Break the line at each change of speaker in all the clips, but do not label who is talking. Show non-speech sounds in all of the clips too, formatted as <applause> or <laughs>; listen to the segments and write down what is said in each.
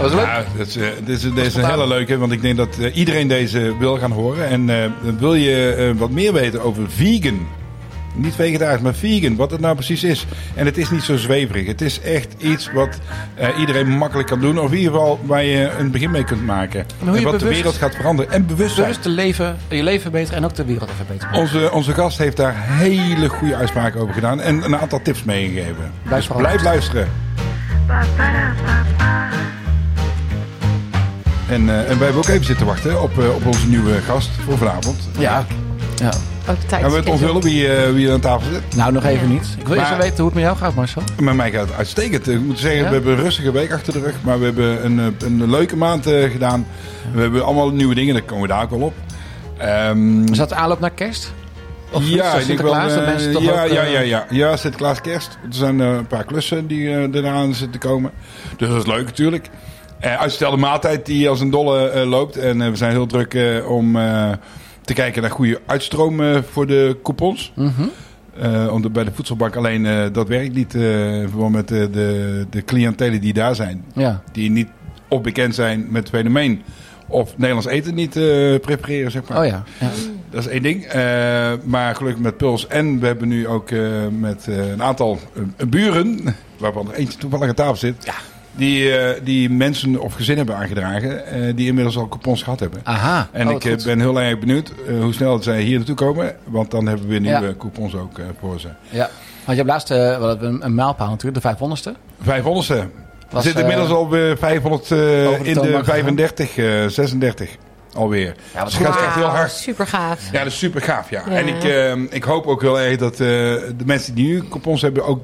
was het leuk?
Ja, dat is, eh, dit is, dit is een hele leuke, want ik denk dat eh, iedereen deze wil gaan horen. En eh, wil je eh, wat meer weten over vegan? Niet vegetarisch, maar vegan, wat het nou precies is. En het is niet zo zweverig. Het is echt iets wat eh, iedereen makkelijk kan doen. Of in ieder geval waar je een begin mee kunt maken.
hoe je
en wat de
bewust-
wereld gaat veranderen. En bewustzijn.
Bewust te leven, je leven verbeteren en ook de wereld even beter maken.
Onze, onze gast heeft daar hele goede uitspraken over gedaan. En een aantal tips meegegeven.
Blijf
Dus
vooral
blijf luisteren. En, eh, en wij hebben ook even zitten wachten op, eh, op onze nieuwe gast voor vanavond.
Ja. ja.
Ook tijd.
Gaan we het onthullen wie, eh, wie er aan tafel zit?
Nou, nog even niet. Ik wil eerst
Maar-
wel weten hoe het met jou gaat, Marcel.
Met mij gaat het uitstekend. Ik moet zeggen,
Ja?
we hebben een rustige week achter de rug. Maar we hebben een, eh, een leuke maand eh, gedaan. We hebben allemaal nieuwe dingen, daar komen we daar ook wel op. Ehm,
Is dat aanloop naar kerst? Of iets?
ja,
Of
ik denk wel.
Sinterklaas, dat
eh,
mensen toch
ja,
ook,
ja,
eh,
ja, ja. ja, Sinterklaas Kerst. Er zijn eh, een paar klussen die eh, eraan zitten te komen. Dus dat is leuk natuurlijk. Eh uitstelde maaltijd die als een dolle eh, loopt. En eh, we zijn heel druk eh, om eh, te kijken naar goede uitstroom eh, voor de coupons.
Mhm.
Eh, omdat bij de voedselbank alleen eh, dat werkt niet. eh in verband met eh, de, de cliëntelen die daar zijn.
Ja.
Die niet of bekend zijn met het fenomeen. Of Nederlands eten niet eh, prepareren, zeg maar.
Oh ja. ja.
Dat is één ding. Eh, maar gelukkig met Puls. En we hebben nu ook eh, met eh, een aantal eh, buren. <laughs> Waarvan er eentje toevallig aan tafel zit. Die, eh, die mensen of gezinnen hebben aangedragen. eh, die inmiddels al coupons gehad hebben.
Aha.
En
Oh,
ik
wat
eh,
goed.
ben heel erg benieuwd eh, hoe snel zij hier naartoe komen. Want dan hebben we weer
Ja.
nieuwe coupons ook eh, voor ze.
Ja. Want je hebt laatst eh, wel een, een mijlpaal natuurlijk, de 500ste.
500ste. We
Was,
zitten
eh,
inmiddels al weer 500 eh,
de
in
toonbank
de
gegaan.
35, eh, 36 alweer.
Ja, wat
Dus het gaat echt
Ah,
heel hard.
Super gaaf.
Ja, dat is super gaaf, ja.
Ja.
En ik, ehm, ik hoop ook heel erg dat eh, de mensen die nu coupons hebben ook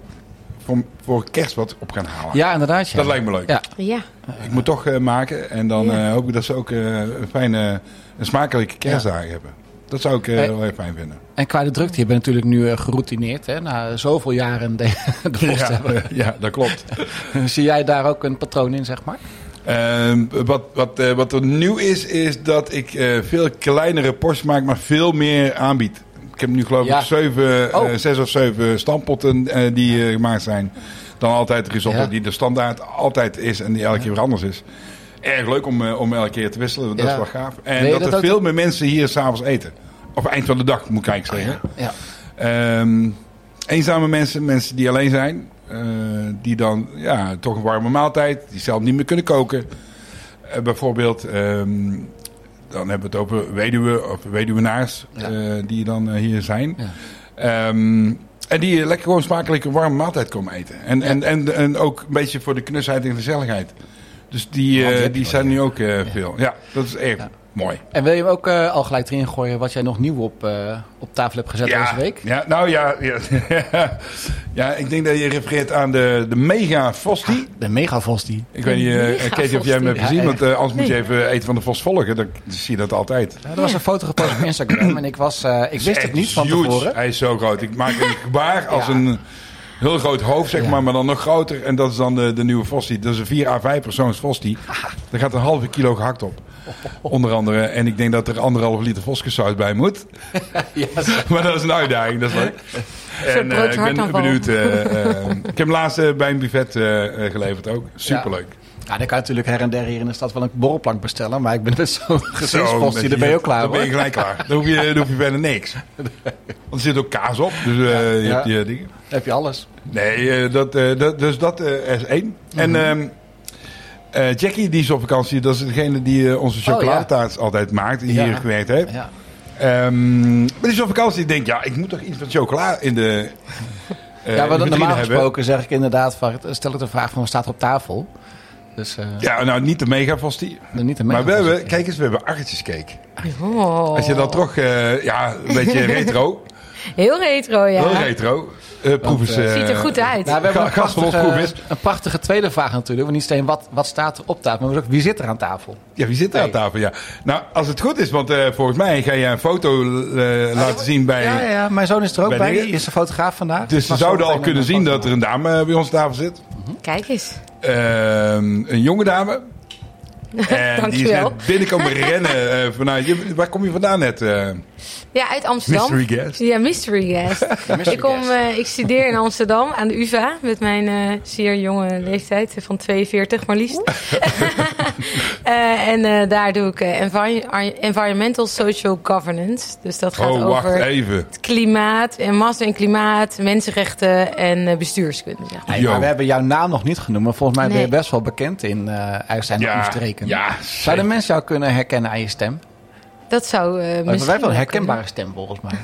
voor, voor kerst wat op gaan halen.
Ja, inderdaad. Ja.
Dat lijkt me leuk.
Ja.
Ja.
Ik moet toch eh, maken en dan
Ja.
eh, hoop ik dat ze ook eh, een fijne, een smakelijke kerstdagen hebben. Dat zou ik eh,
Hey.
heel erg fijn vinden.
En qua de drukte, je bent natuurlijk nu eh, geroutineerd. Hè? Na zoveel jaren de, <laughs> de post
Ja,
hebben.
<laughs> ja, dat klopt.
Zie jij daar ook een patroon in, zeg maar?
Ehm, wat, wat, eh, wat er nieuw is, is dat ik eh, veel kleinere porties maak, maar veel meer aanbied. Ik heb nu geloof
Ja.
ik zeven,
Oh.
eh, zes of zeven stampotten eh, die eh, gemaakt zijn. Dan altijd de risotto
Ja.
die de standaard altijd is en die elke keer weer anders is. Erg leuk om, eh, om elke keer te wisselen, want dat
Ja.
is wel gaaf.
Wil
En
je
dat,
dat
er
ook-
veel meer mensen hier s'avonds eten. Of eind van de dag, moet ik eigenlijk zeggen.
Oh, Ja.
Ehm, eenzame mensen, mensen die alleen zijn. eh, die dan ja, toch een warme maaltijd, die zelf niet meer kunnen koken. Eh, bijvoorbeeld, ehm, dan hebben we het over weduwe of weduwenaars
Ja.
eh, die dan eh, hier zijn.
Ja.
Ehm, en die eh, lekker gewoon smakelijk een warme maaltijd komen eten. En, en, en, en ook een beetje voor de knusheid en gezelligheid. Dus die,
Want die heb
eh,
je
die
wel,
zijn nu ook eh, veel. Ja, dat is echt
Ja.
mooi.
En wil je hem ook eh, al gelijk erin gooien wat jij nog nieuw op, eh, op tafel hebt gezet deze week?
Ja, nou ja, ja, <laughs> ja, ik denk dat je refereert aan de, de mega Fosti.
De megavos die.
Ik weet niet, eh,
mega
Kees, of jij hem hebt
Fosti.
gezien,
Ja,
want eh, anders moet je
Nee.
even Eten van de Vos volgen. Dan zie je dat altijd.
er was een foto gepost op Instagram en ik, was, eh, ik wist het
Echt
niet van
huge.
tevoren.
Hij is zo groot. Ik maak een gebaar als
Ja.
een heel groot hoofd, zeg
Ja.
maar, maar dan nog groter. En dat is dan de, de nieuwe Fosti. Dat is een 4 à 5
<laughs>
persoons Fosti. Daar gaat een halve kilo gehakt op. Onder andere. En ik denk dat er anderhalf liter voskensaus bij
<laughs>
moet. <laughs> Maar dat is een uitdaging, dat is leuk. En eh,
broodje
ik ben
hartaanval.
benieuwd. eh, eh, ik heb hem laatst eh, bij een buffet eh, eh, geleverd ook. Superleuk.
Ja, dan kan je natuurlijk her en der hier in de stad wel een borrelplank bestellen. Maar ik ben met <laughs> zo'n
Zo,
gezinspost
met
die, daar ben je ook klaar
Dan ben je
hoor.
gelijk klaar. Dan hoef je, dan hoef je verder
<laughs>
niks. Want er zit ook kaas op, dus eh, je
Ja.
hebt die eh, dingen.
heb je alles.
Nee, eh, dat, eh, dat, dus dat eh, is één.
Mhm.
En ehm, eh, Jackie, die is op vakantie. Dat is degene die eh, onze
Oh, ja.
chocoladetaart altijd maakt. Die
Ja.
hier gewerkt heeft.
Ja.
Ehm, maar die is op vakantie. Ik denk, ja, ik moet toch iets met chocola in de eh,
<laughs> ja,
in de
maar dan
vitrine
normaal
hebben.
gesproken zeg ik inderdaad, van, stel ik de vraag van, wat staat er op tafel? Dus eh,
Ja, nou, niet de mega die.
dan niet een
Maar we
megavos.
hebben, kijk eens, we hebben achtjescake.
Oh.
Als je dan toch, eh, ja,
<laughs>
een beetje retro.
Heel retro, ja.
Heel retro. Eh proef eens.
eh,
eh,
Ziet er goed uit.
Nou, we hebben een
<laughs> Ga- gast van ons
prachtige,
proef
een prachtige tweede vraag natuurlijk. Want niet alleen wat, wat staat er op tafel, maar ook wie zit er aan tafel?
Ja, wie zit daar aan
Nee.
tafel? Ja. Nou, als het goed is, want eh, volgens mij ga je een foto eh, laten zien bij...
Ah, Ja, ja, mijn zoon is er ook
bij
bij.
dingen.
Die is een fotograaf vandaag.
Dus ze
Maar
zouden
zo
al
meteen
kunnen
een
zien dat
foto.
er een dame bij ons aan tafel zit.
Kijk eens. <laughs>
Ehm, een jonge dame. En die is
Dankjewel.
net
<laughs>
binnenkomen rennen eh, vanuit... je- waar kom je vandaan net? eh,
Ja, uit Amsterdam.
mystery guest.
Ja, mystery
<laughs>
guest.
mystery
ik, kom,
guest.
eh, ik studeer in Amsterdam aan de UvA met mijn eh, zeer jonge leeftijd eh, van 42 maar liefst. <laughs> Eh, en eh, daar doe ik eh, envi- ar- Environmental Social Governance. Dus dat gaat
Oh, wacht
over
even.
het klimaat en massa en klimaat, mensenrechten en eh, bestuurskunde. Zeg maar.
Hey,
Yo.
maar we hebben jouw naam nog niet genoemd, maar volgens mij ben je
Nee.
best wel bekend in eh IJsselstein en
Ja,
omstreken.
ja,
Zouden
zeker.
mensen jou kunnen herkennen aan je stem? We
Dat zou eh misschien...
hebben wij wel een
wel kunnen.
herkenbare stem volgens mij.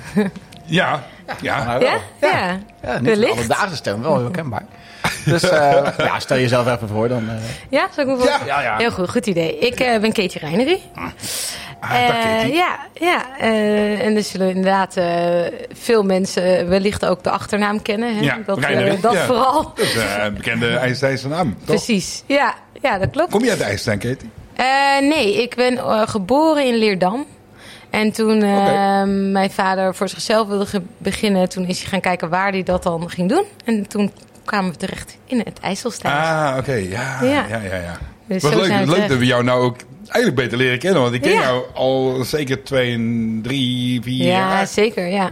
ja, Oh. ja.
Maar wel.
Ja? Ja.
Ja, niet een
Wellicht.
alledaagse stem, wel herkenbaar. Dus eh,
<laughs>
ja, stel jezelf even voor dan. eh.
Ja, zal ik me voorstellen?
Ja, ja.
Heel goed, goed idee. Ik eh, ben Katie Reinery.
Ah, daar
Eh,
keek hij.
ja, ja. eh, en dus zullen inderdaad eh, veel mensen wellicht ook de achternaam kennen. Hè?
Ja,
dat eh,
Reinery,
dat
ja.
vooral.
Dat is eh, een bekende IJsselsteinse naam, toch?
Precies, ja, ja dat klopt.
Kom je uit IJsselstein, Katie?
Eh, nee, ik ben eh, geboren in Leerdam. En toen eh,
Oké.
mijn vader voor zichzelf wilde ge- beginnen, toen is hij gaan kijken waar hij dat dan ging doen. En toen kwamen we terecht in het IJsselstein.
Ah, oké. Ja, ja,
Ja.
ja, ja.
Dus
Wat
zo zijn
leuk,
we
leuk
terecht.
dat we jou nou ook eigenlijk beter leren kennen. Want ik ken
Ja.
jou al zeker twee, en drie, vier
ja,
jaar.
zeker, ja.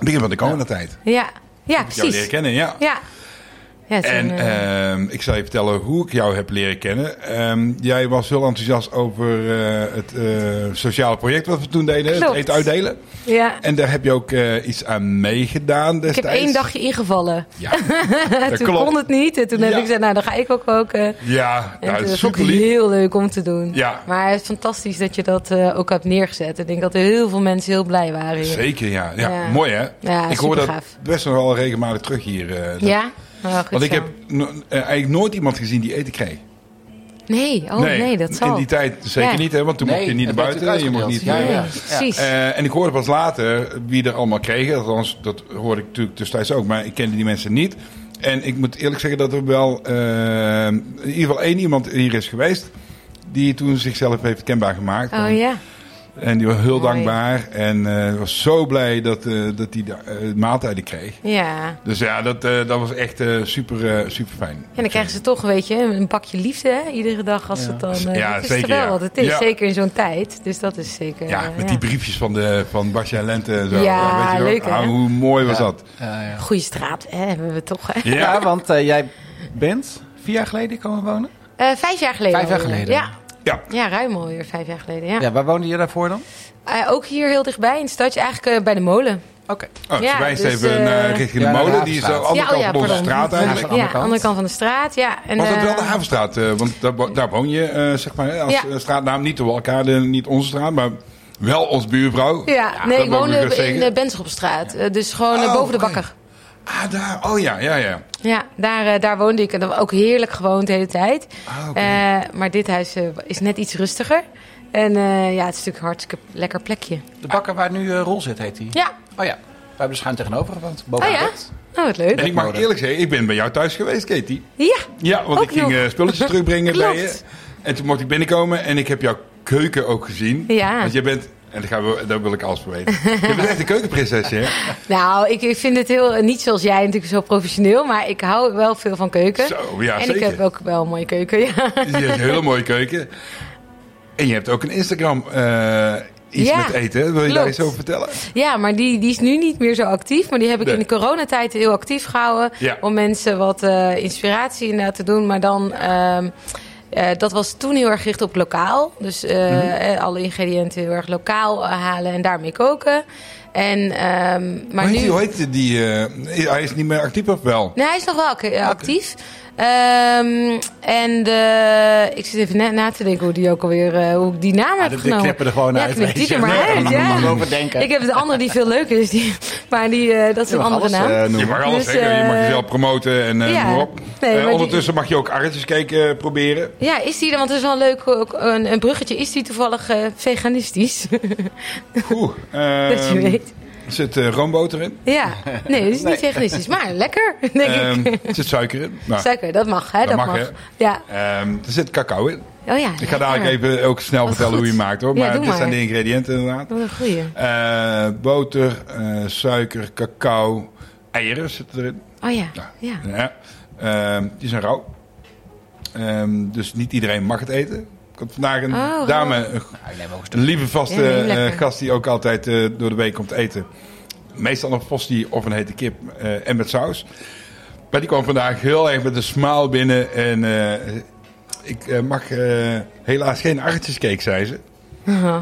Begin van de coronatijd. tijd.
Ja, ja
Jou leren
precies.
kennen, ja.
Ja. ja toen,
En
eh,
ehm, ik zal je vertellen hoe ik jou heb leren kennen. Ehm, jij was heel enthousiast over eh, het eh, sociale project wat we toen deden. Het
Klopt.
eten uitdelen.
eh, ja.
En daar heb je ook eh, iets aan meegedaan
Ik heb
destijds.
één dagje ingevallen. <laughs>
Ja, dat
toen
klopt.
kon het niet. En toen
Ja.
heb ik gezegd, nou dan ga ik ook koken.
Ja,
En
nou,
toen
het is
vond
super
ik het
lief.
heel leuk om te doen.
Ja.
Maar het is fantastisch dat je dat eh, ook hebt neergezet. Ik denk dat er heel veel mensen heel blij waren. hier.
Zeker, ja. ja.
Ja.
Mooi, hè?
Ja,
ik hoor dat
supergaaf.
best nog wel regelmatig terug hier. eh, dat-
Ja? Nou, goed
Want ik
zo.
heb no- eh, eigenlijk nooit iemand gezien die eten kreeg.
Nee, oh nee, dat zal.
In die tijd zeker
Ja.
niet, hè? Want toen mocht je niet
dat
naar
werd
buiten. Je
natuurlijk
mocht niet,
uitgedeeld.
eh,
Ja, ja. Precies.
eh, en ik hoorde pas later wie er allemaal kregen. Althans, dat hoorde ik natuurlijk destijds ook. Maar ik kende die mensen niet. En ik moet eerlijk zeggen dat er wel eh, in ieder geval één iemand hier is geweest. Die toen zichzelf heeft kenbaar gemaakt.
Oh ja.
En die was heel
Mooi.
dankbaar. En eh, was zo blij dat hij dat die, eh, maaltijden kreeg.
Ja.
Dus ja, dat, eh, dat was echt eh, super, eh, super fijn.
En dan krijgen ze toch, weet je, een pakje liefde hè? iedere dag als het dan... eh,
Ja,
dat is
zeker,
toch wel
ja.
wat het is,
Ja.
zeker in zo'n tijd. Dus dat is zeker...
Ja,
eh,
met die briefjes van, de, van Basja en Lente. en Zo.
Ja,
weet je wel.
leuk, hè?
Ah, hoe mooi was dat?
Ja, ja.
Goeie straat, hè, hebben we toch. Hè?
Ja,
eh, Ja,
ja,
want eh, jij bent vier jaar geleden komen wonen.
Eh, vijf jaar geleden.
Vijf jaar
alweer.
geleden.
Ja. ja, ruim alweer vijf jaar geleden. Ja.
Ja, waar woonde je daarvoor dan?
Eh, ook hier heel dichtbij in het stadje, eigenlijk eh, bij de molen.
Oké.
Oh, ze
Ja,
wijst
dus,
even
eh,
naar richting
Ja,
de
naar de
molen. Die is de
Havenstraat.
andere
ja, oh
kant
ja,
van onze
pardon.
straat eigenlijk.
Aan de
Ja,
andere kant.
andere kant van de straat. Ja. En,
Was dat wel
eh,
de Havenstraat? eh, want daar, wo- daar woon je, eh, zeg maar, hè, als
Ja.
eh, straatnaam. Niet de Walkade, niet onze straat, maar wel als buurvrouw.
Ja, nee,
dat mogen we
ik woonde
gerust
in
zeggen.
de Benschopstraat. Eh, Dus gewoon eh,
Oh,
boven de
oké.
bakker.
Ah, daar. Oh ja, ja, ja.
Ja, daar, eh, daar woonde ik. En dat was ook heerlijk gewoond de hele tijd.
Ah, oké.
Eh, maar dit huis eh, is net iets rustiger. En eh, ja, het is natuurlijk een hartstikke lekker plekje.
De bakker waar nu eh, Rol zit, heet die.
Ja.
Oh ja, we hebben er schuin tegenover gewoond. Boven
Oh ja?
het
Oh, wat leuk.
En ik mag eerlijk zeggen, ik ben bij jou thuis geweest, Katie.
Ja.
Ja, want
Ook
ik ging
nog.
eh,
<laughs>
spulletjes terugbrengen
Klopt.
bij je. En toen mocht ik binnenkomen en ik heb jouw keuken ook gezien.
Ja.
Want jij bent, en daar, gaan we, daar wil ik alles voor
<laughs>
weten. je bent echt een keukenprinses, hè?
Nou, ik, ik vind het heel, niet zoals jij natuurlijk zo professioneel, maar ik hou wel veel van keuken.
Zo, ja,
en
zeker.
ik heb ook wel een mooie keuken, ja. <laughs>
Je hebt een hele mooie keuken. En je hebt ook een Instagram eh, iets
Ja,
met eten. hè? Wil je daar
klopt.
iets over vertellen?
Ja, maar die, die is nu niet meer zo actief. Maar die heb ik
Nee.
in de coronatijd heel actief gehouden.
Ja.
Om mensen wat eh, inspiratie inderdaad te doen. Maar dan, ehm, eh, dat was toen heel erg gericht op lokaal. Dus eh,
Mhm.
eh, alle ingrediënten heel erg lokaal eh, halen en daarmee koken. En, ehm, maar
hoe, heet
nu...
die, hoe heet die? eh, hij is niet meer actief of wel?
Nee, hij is nog wel ac- actief. Ehm, en de, ik zit even na, na te denken hoe, die ook alweer, eh, hoe ik die naam
dit-
heb
dit
genomen.
knippen er gewoon
ja,
uit,
knip
weet
die
je.
er maar
Nee,
uit,
daar
ja.
mag ik over denken.
Ik heb de andere die veel leuker is. Die, maar die, eh, dat is een andere naam.
Je mag alles
Dus,
zeggen. Je mag
eh,
jezelf promoten en eh,
ja.
noem maar op.
Nee,
Eh,
maar die-
ondertussen mag je ook arretjescake eh, proberen.
<laughs> ja, is die, want het is wel leuk, ook een, een bruggetje. Is die toevallig eh, veganistisch? <laughs>
Oeh,
dat je
ehm,
weet.
er zit eh, roomboter in.
Ja, nee, het is niet veganistisch. Maar lekker, denk
Ehm,
ik.
er zit suiker in. Nou,
Suiker, dat mag, hè?
dat
Dat,
mag,
mag.
hè?
Ja.
ehm, er zit cacao in.
Oh ja.
Ik ga dadelijk even ook snel
Wat
vertellen hoe je
goed.
hem maakt hoor.
Ja,
Maar
doe
dit
maar.
zijn de ingrediënten inderdaad.
Wat Oh, een goeie.
Eh, boter, eh, suiker, cacao, eieren zitten erin.
Oh ja,
Ja.
ja.
Ja. Ehm, die zijn rauw. Ehm, dus niet iedereen mag het eten. Ik had vandaag een
Oh,
dame, een
ik neem ook een
een lieve vaste
Ja, heel
eh,
lekker.
gast die ook altijd eh, door de week komt eten. Meestal een postie of een hete kip eh, en met saus. Maar die kwam vandaag heel erg met een smaal binnen. En eh, ik eh, mag eh, helaas geen aartjescake, zei ze.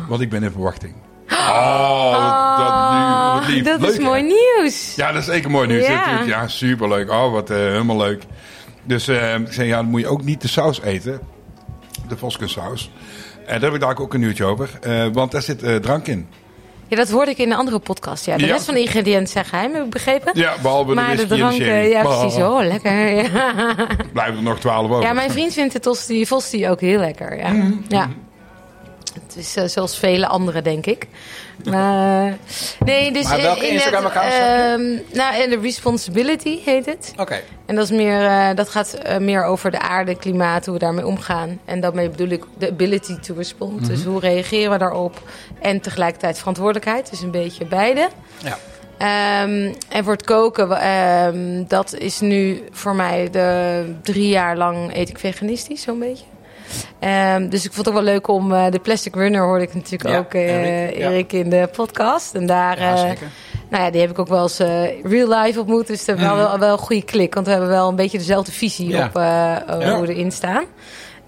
Want ik ben in verwachting. Oh,
Ah,
dat, nu, wat lief.
dat
Leuk,
is
hè?
mooi nieuws.
Ja, dat is zeker mooi nieuws.
Ja.
Ja, ja superleuk. Oh, wat eh, helemaal leuk. Dus eh, ik zei, ja, dan moet je ook niet de saus eten. De Voskensaus. En daar heb ik daar ook een uurtje over. eh, want daar zit eh, drank in.
Ja, dat hoorde ik in een andere podcast. Ja. De
Ja.
rest van de ingrediënten zijn geheim, heb ik begrepen.
Ja, behalve
maar
de
de
whisky en
drank,
de
eh,
sherry.
ja
Oh,
precies. Oh, lekker. Ja.
Blijven er nog twaalf over.
ja, mijn vriend vindt de tosti, vosti ook heel lekker. Ja.
Mm-hmm.
ja. Het is eh, zoals vele anderen, denk ik. Maar, nee, dus
Maar
in-
welke
in het,
Instagram-account zag
ehm, Nou, en de responsibility heet het.
Oké.
En dat, is meer, eh, dat gaat eh, meer over de aarde, klimaat, hoe we daarmee omgaan. En daarmee bedoel ik de ability to respond.
Mhm.
Dus hoe reageren we daarop? En tegelijkertijd verantwoordelijkheid. Dus een beetje beide.
Ja.
Ehm, en voor het koken, wa- ehm, dat is nu voor mij de drie jaar lang eet ik veganistisch, zo'n beetje. Ehm, dus ik vond het ook wel leuk om eh, de Plastic Runner hoorde ik natuurlijk
Ja,
ook eh,
Erik,
Erik,
ja.
in de podcast. En daar,
Ja,
eh,
zeker.
nou ja, die heb ik ook wel eens eh, real life ontmoet. Dus dat hebben we wel, wel een goede klik, want we hebben wel een beetje dezelfde visie
Mhm. Ja.
op eh,
Ja.
hoe we erin staan.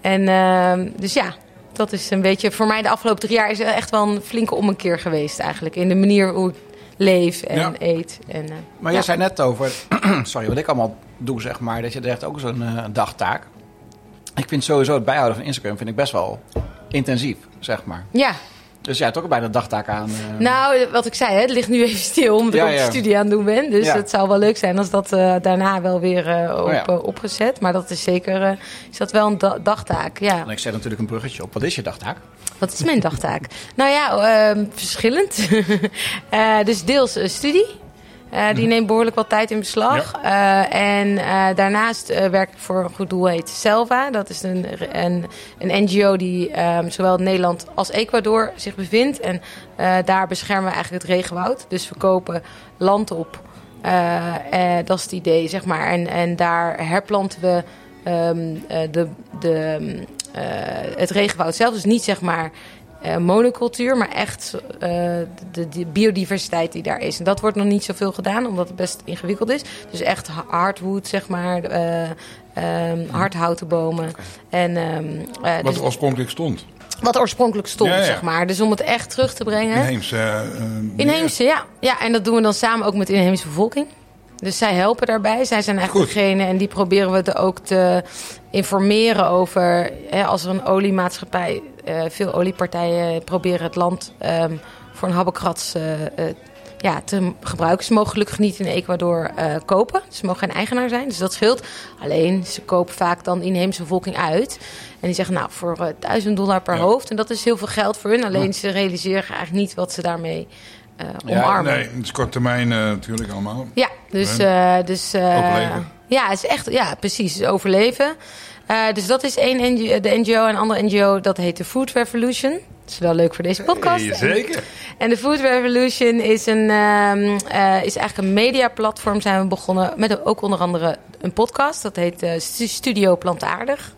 En ehm, dus ja, dat is een beetje voor mij de afgelopen drie jaar is er echt wel een flinke ommekeer geweest eigenlijk in de manier hoe ik leef en
Ja.
eet. En, eh,
Maar jij zei net over, <clears throat> sorry, wat ik allemaal doe, zeg maar, dat je er echt ook zo'n eh, dagtaak. Ik vind sowieso het bijhouden van Instagram vind ik best wel intensief, zeg maar.
ja,
Dus jij hebt ook bijna een dagtaak aan. eh,
nou wat ik zei, hè, het ligt nu even stil omdat
Ja,
ik op
ja.
de studie aan het doen ben. Dus
Ja.
het zou wel leuk zijn als dat eh, daarna wel weer eh, op,
Oh, ja.
eh, opgezet. Maar dat is zeker, eh, is dat wel een da- dagtaak, ja.
en ik zet natuurlijk een bruggetje op. Wat is je dagtaak?
Wat is mijn dagtaak? nou ja, ehm, verschillend. <laughs> Eh, dus deels eh, studie. Eh, die neemt behoorlijk wat tijd in beslag. Eh, en eh, daarnaast eh, werk ik voor een goed doel heet Selva. Dat is een, een, een NGO die ehm, zowel in Nederland als Ecuador zich bevindt. En eh, daar beschermen we eigenlijk het regenwoud. Dus we kopen land op. Eh, eh, dat is het idee, zeg maar. En, en daar herplanten we ehm, eh, de, de, eh, het regenwoud zelf. Dus niet zeg maar eh, monocultuur, maar echt eh, de, de biodiversiteit die daar is. En dat wordt nog niet zoveel gedaan, omdat het best ingewikkeld is. Dus echt ha- hardwood, zeg maar, eh, ehm, hardhouten bomen. En, ehm, eh,
Mhm. Wat
dus-
er oorspronkelijk stond.
wat oorspronkelijk stond,
Ja, ja.
zeg maar. Dus om het echt terug te brengen.
Inheemse. eh, eh,
Inheemse, ja. ja. En dat doen we dan samen ook met de inheemse bevolking. Dus zij helpen daarbij. Zij zijn eigenlijk
Goed.
degene en die proberen we te ook te informeren over. Hè, als er een oliemaatschappij, eh, veel oliepartijen proberen het land ehm, voor een habbekrats eh, eh, ja, te gebruiken. Ze mogen gelukkig niet in Ecuador eh, kopen. Ze mogen geen eigenaar zijn, dus dat scheelt. Alleen, ze kopen vaak dan de inheemse bevolking uit. En die zeggen, nou, voor eh, 1000 dollar per
Ja.
hoofd. En dat is heel veel geld voor hun. Alleen, ze realiseren eigenlijk niet wat ze daarmee eh, omarmen.
Nee, het is kort termijn eh, natuurlijk allemaal.
Ja, dus... eh, dus eh,
Overleven.
Ja, het is echt, ja, precies, overleven. Eh, dus dat is één NGO, de NGO. En een andere NGO, dat heet de Food Revolution. Dat is wel leuk voor deze podcast.
Eh, zeker.
En de Food Revolution is, een, ehm, eh, is eigenlijk een mediaplatform. Zijn we begonnen met ook onder andere een podcast. Dat heet eh, Stu- Studio Plantaardig.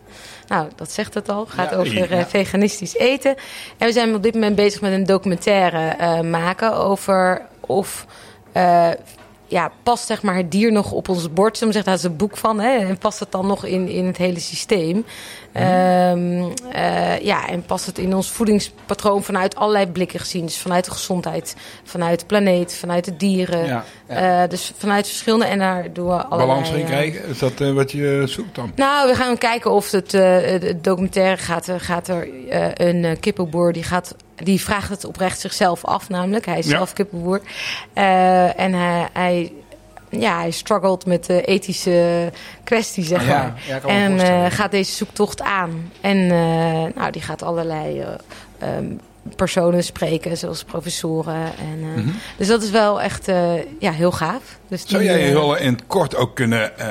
Nou, dat zegt het al. Gaat
Ja,
over eh,
ja.
veganistisch eten. En we zijn op dit moment bezig met een documentaire eh, maken over of. eh, ja, past zeg maar het dier nog op ons bord? Soms zegt daar is een boek van. Hè? En past het dan nog in, in het hele systeem? Ehm, eh, ja, en past het in ons voedingspatroon vanuit allerlei blikken gezien. Dus vanuit de gezondheid, vanuit de planeet, vanuit de dieren.
Ja,
Eh, dus vanuit verschillende. En daar doen we allerlei...
Balans erin
eh,
krijgen. Is dat eh, wat je zoekt dan?
nou, we gaan kijken of het, eh, het documentaire gaat, eh, gaat er eh, een eh, kippenboer die gaat. Die vraagt het oprecht zichzelf af, namelijk. Hij is
Ja.
zelf kippenboer. Eh, en hij, hij, ja, hij struggelt met de ethische kwestie, zeg
Ja,
maar.
ja, kan me
en
voorstellen.
eh, gaat deze zoektocht aan. En eh, nou, die gaat allerlei eh, ehm, personen spreken, zoals professoren. En, eh, Dus dat is wel echt eh, ja, heel gaaf. Dus
Zou
die,
jij je
eh,
hullen in het kort ook kunnen eh,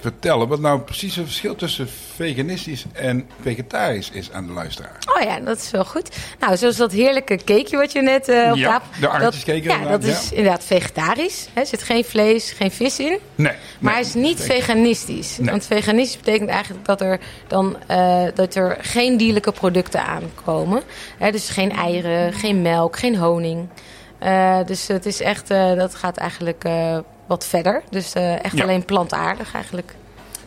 vertellen wat nou precies het verschil tussen veganistisch en vegetarisch is aan de luisteraar.
Oh ja, dat is wel goed. Nou, zoals dat heerlijke cakeje wat je net eh op
Ja,
tafel-
de aardappeltjes
dat,
cake
Ja, dat
inderdaad,
is
ja.
inderdaad vegetarisch. Er zit geen vlees, geen vis in.
Nee.
Maar hij is niet veganistisch.
Nee.
Want veganistisch betekent eigenlijk dat er dan eh, dat er geen dierlijke producten aankomen. Hè, dus geen eieren, geen melk, geen honing. Eh, dus het is echt, eh, dat gaat eigenlijk eh, wat verder. Dus eh, echt
Ja.
alleen plantaardig eigenlijk.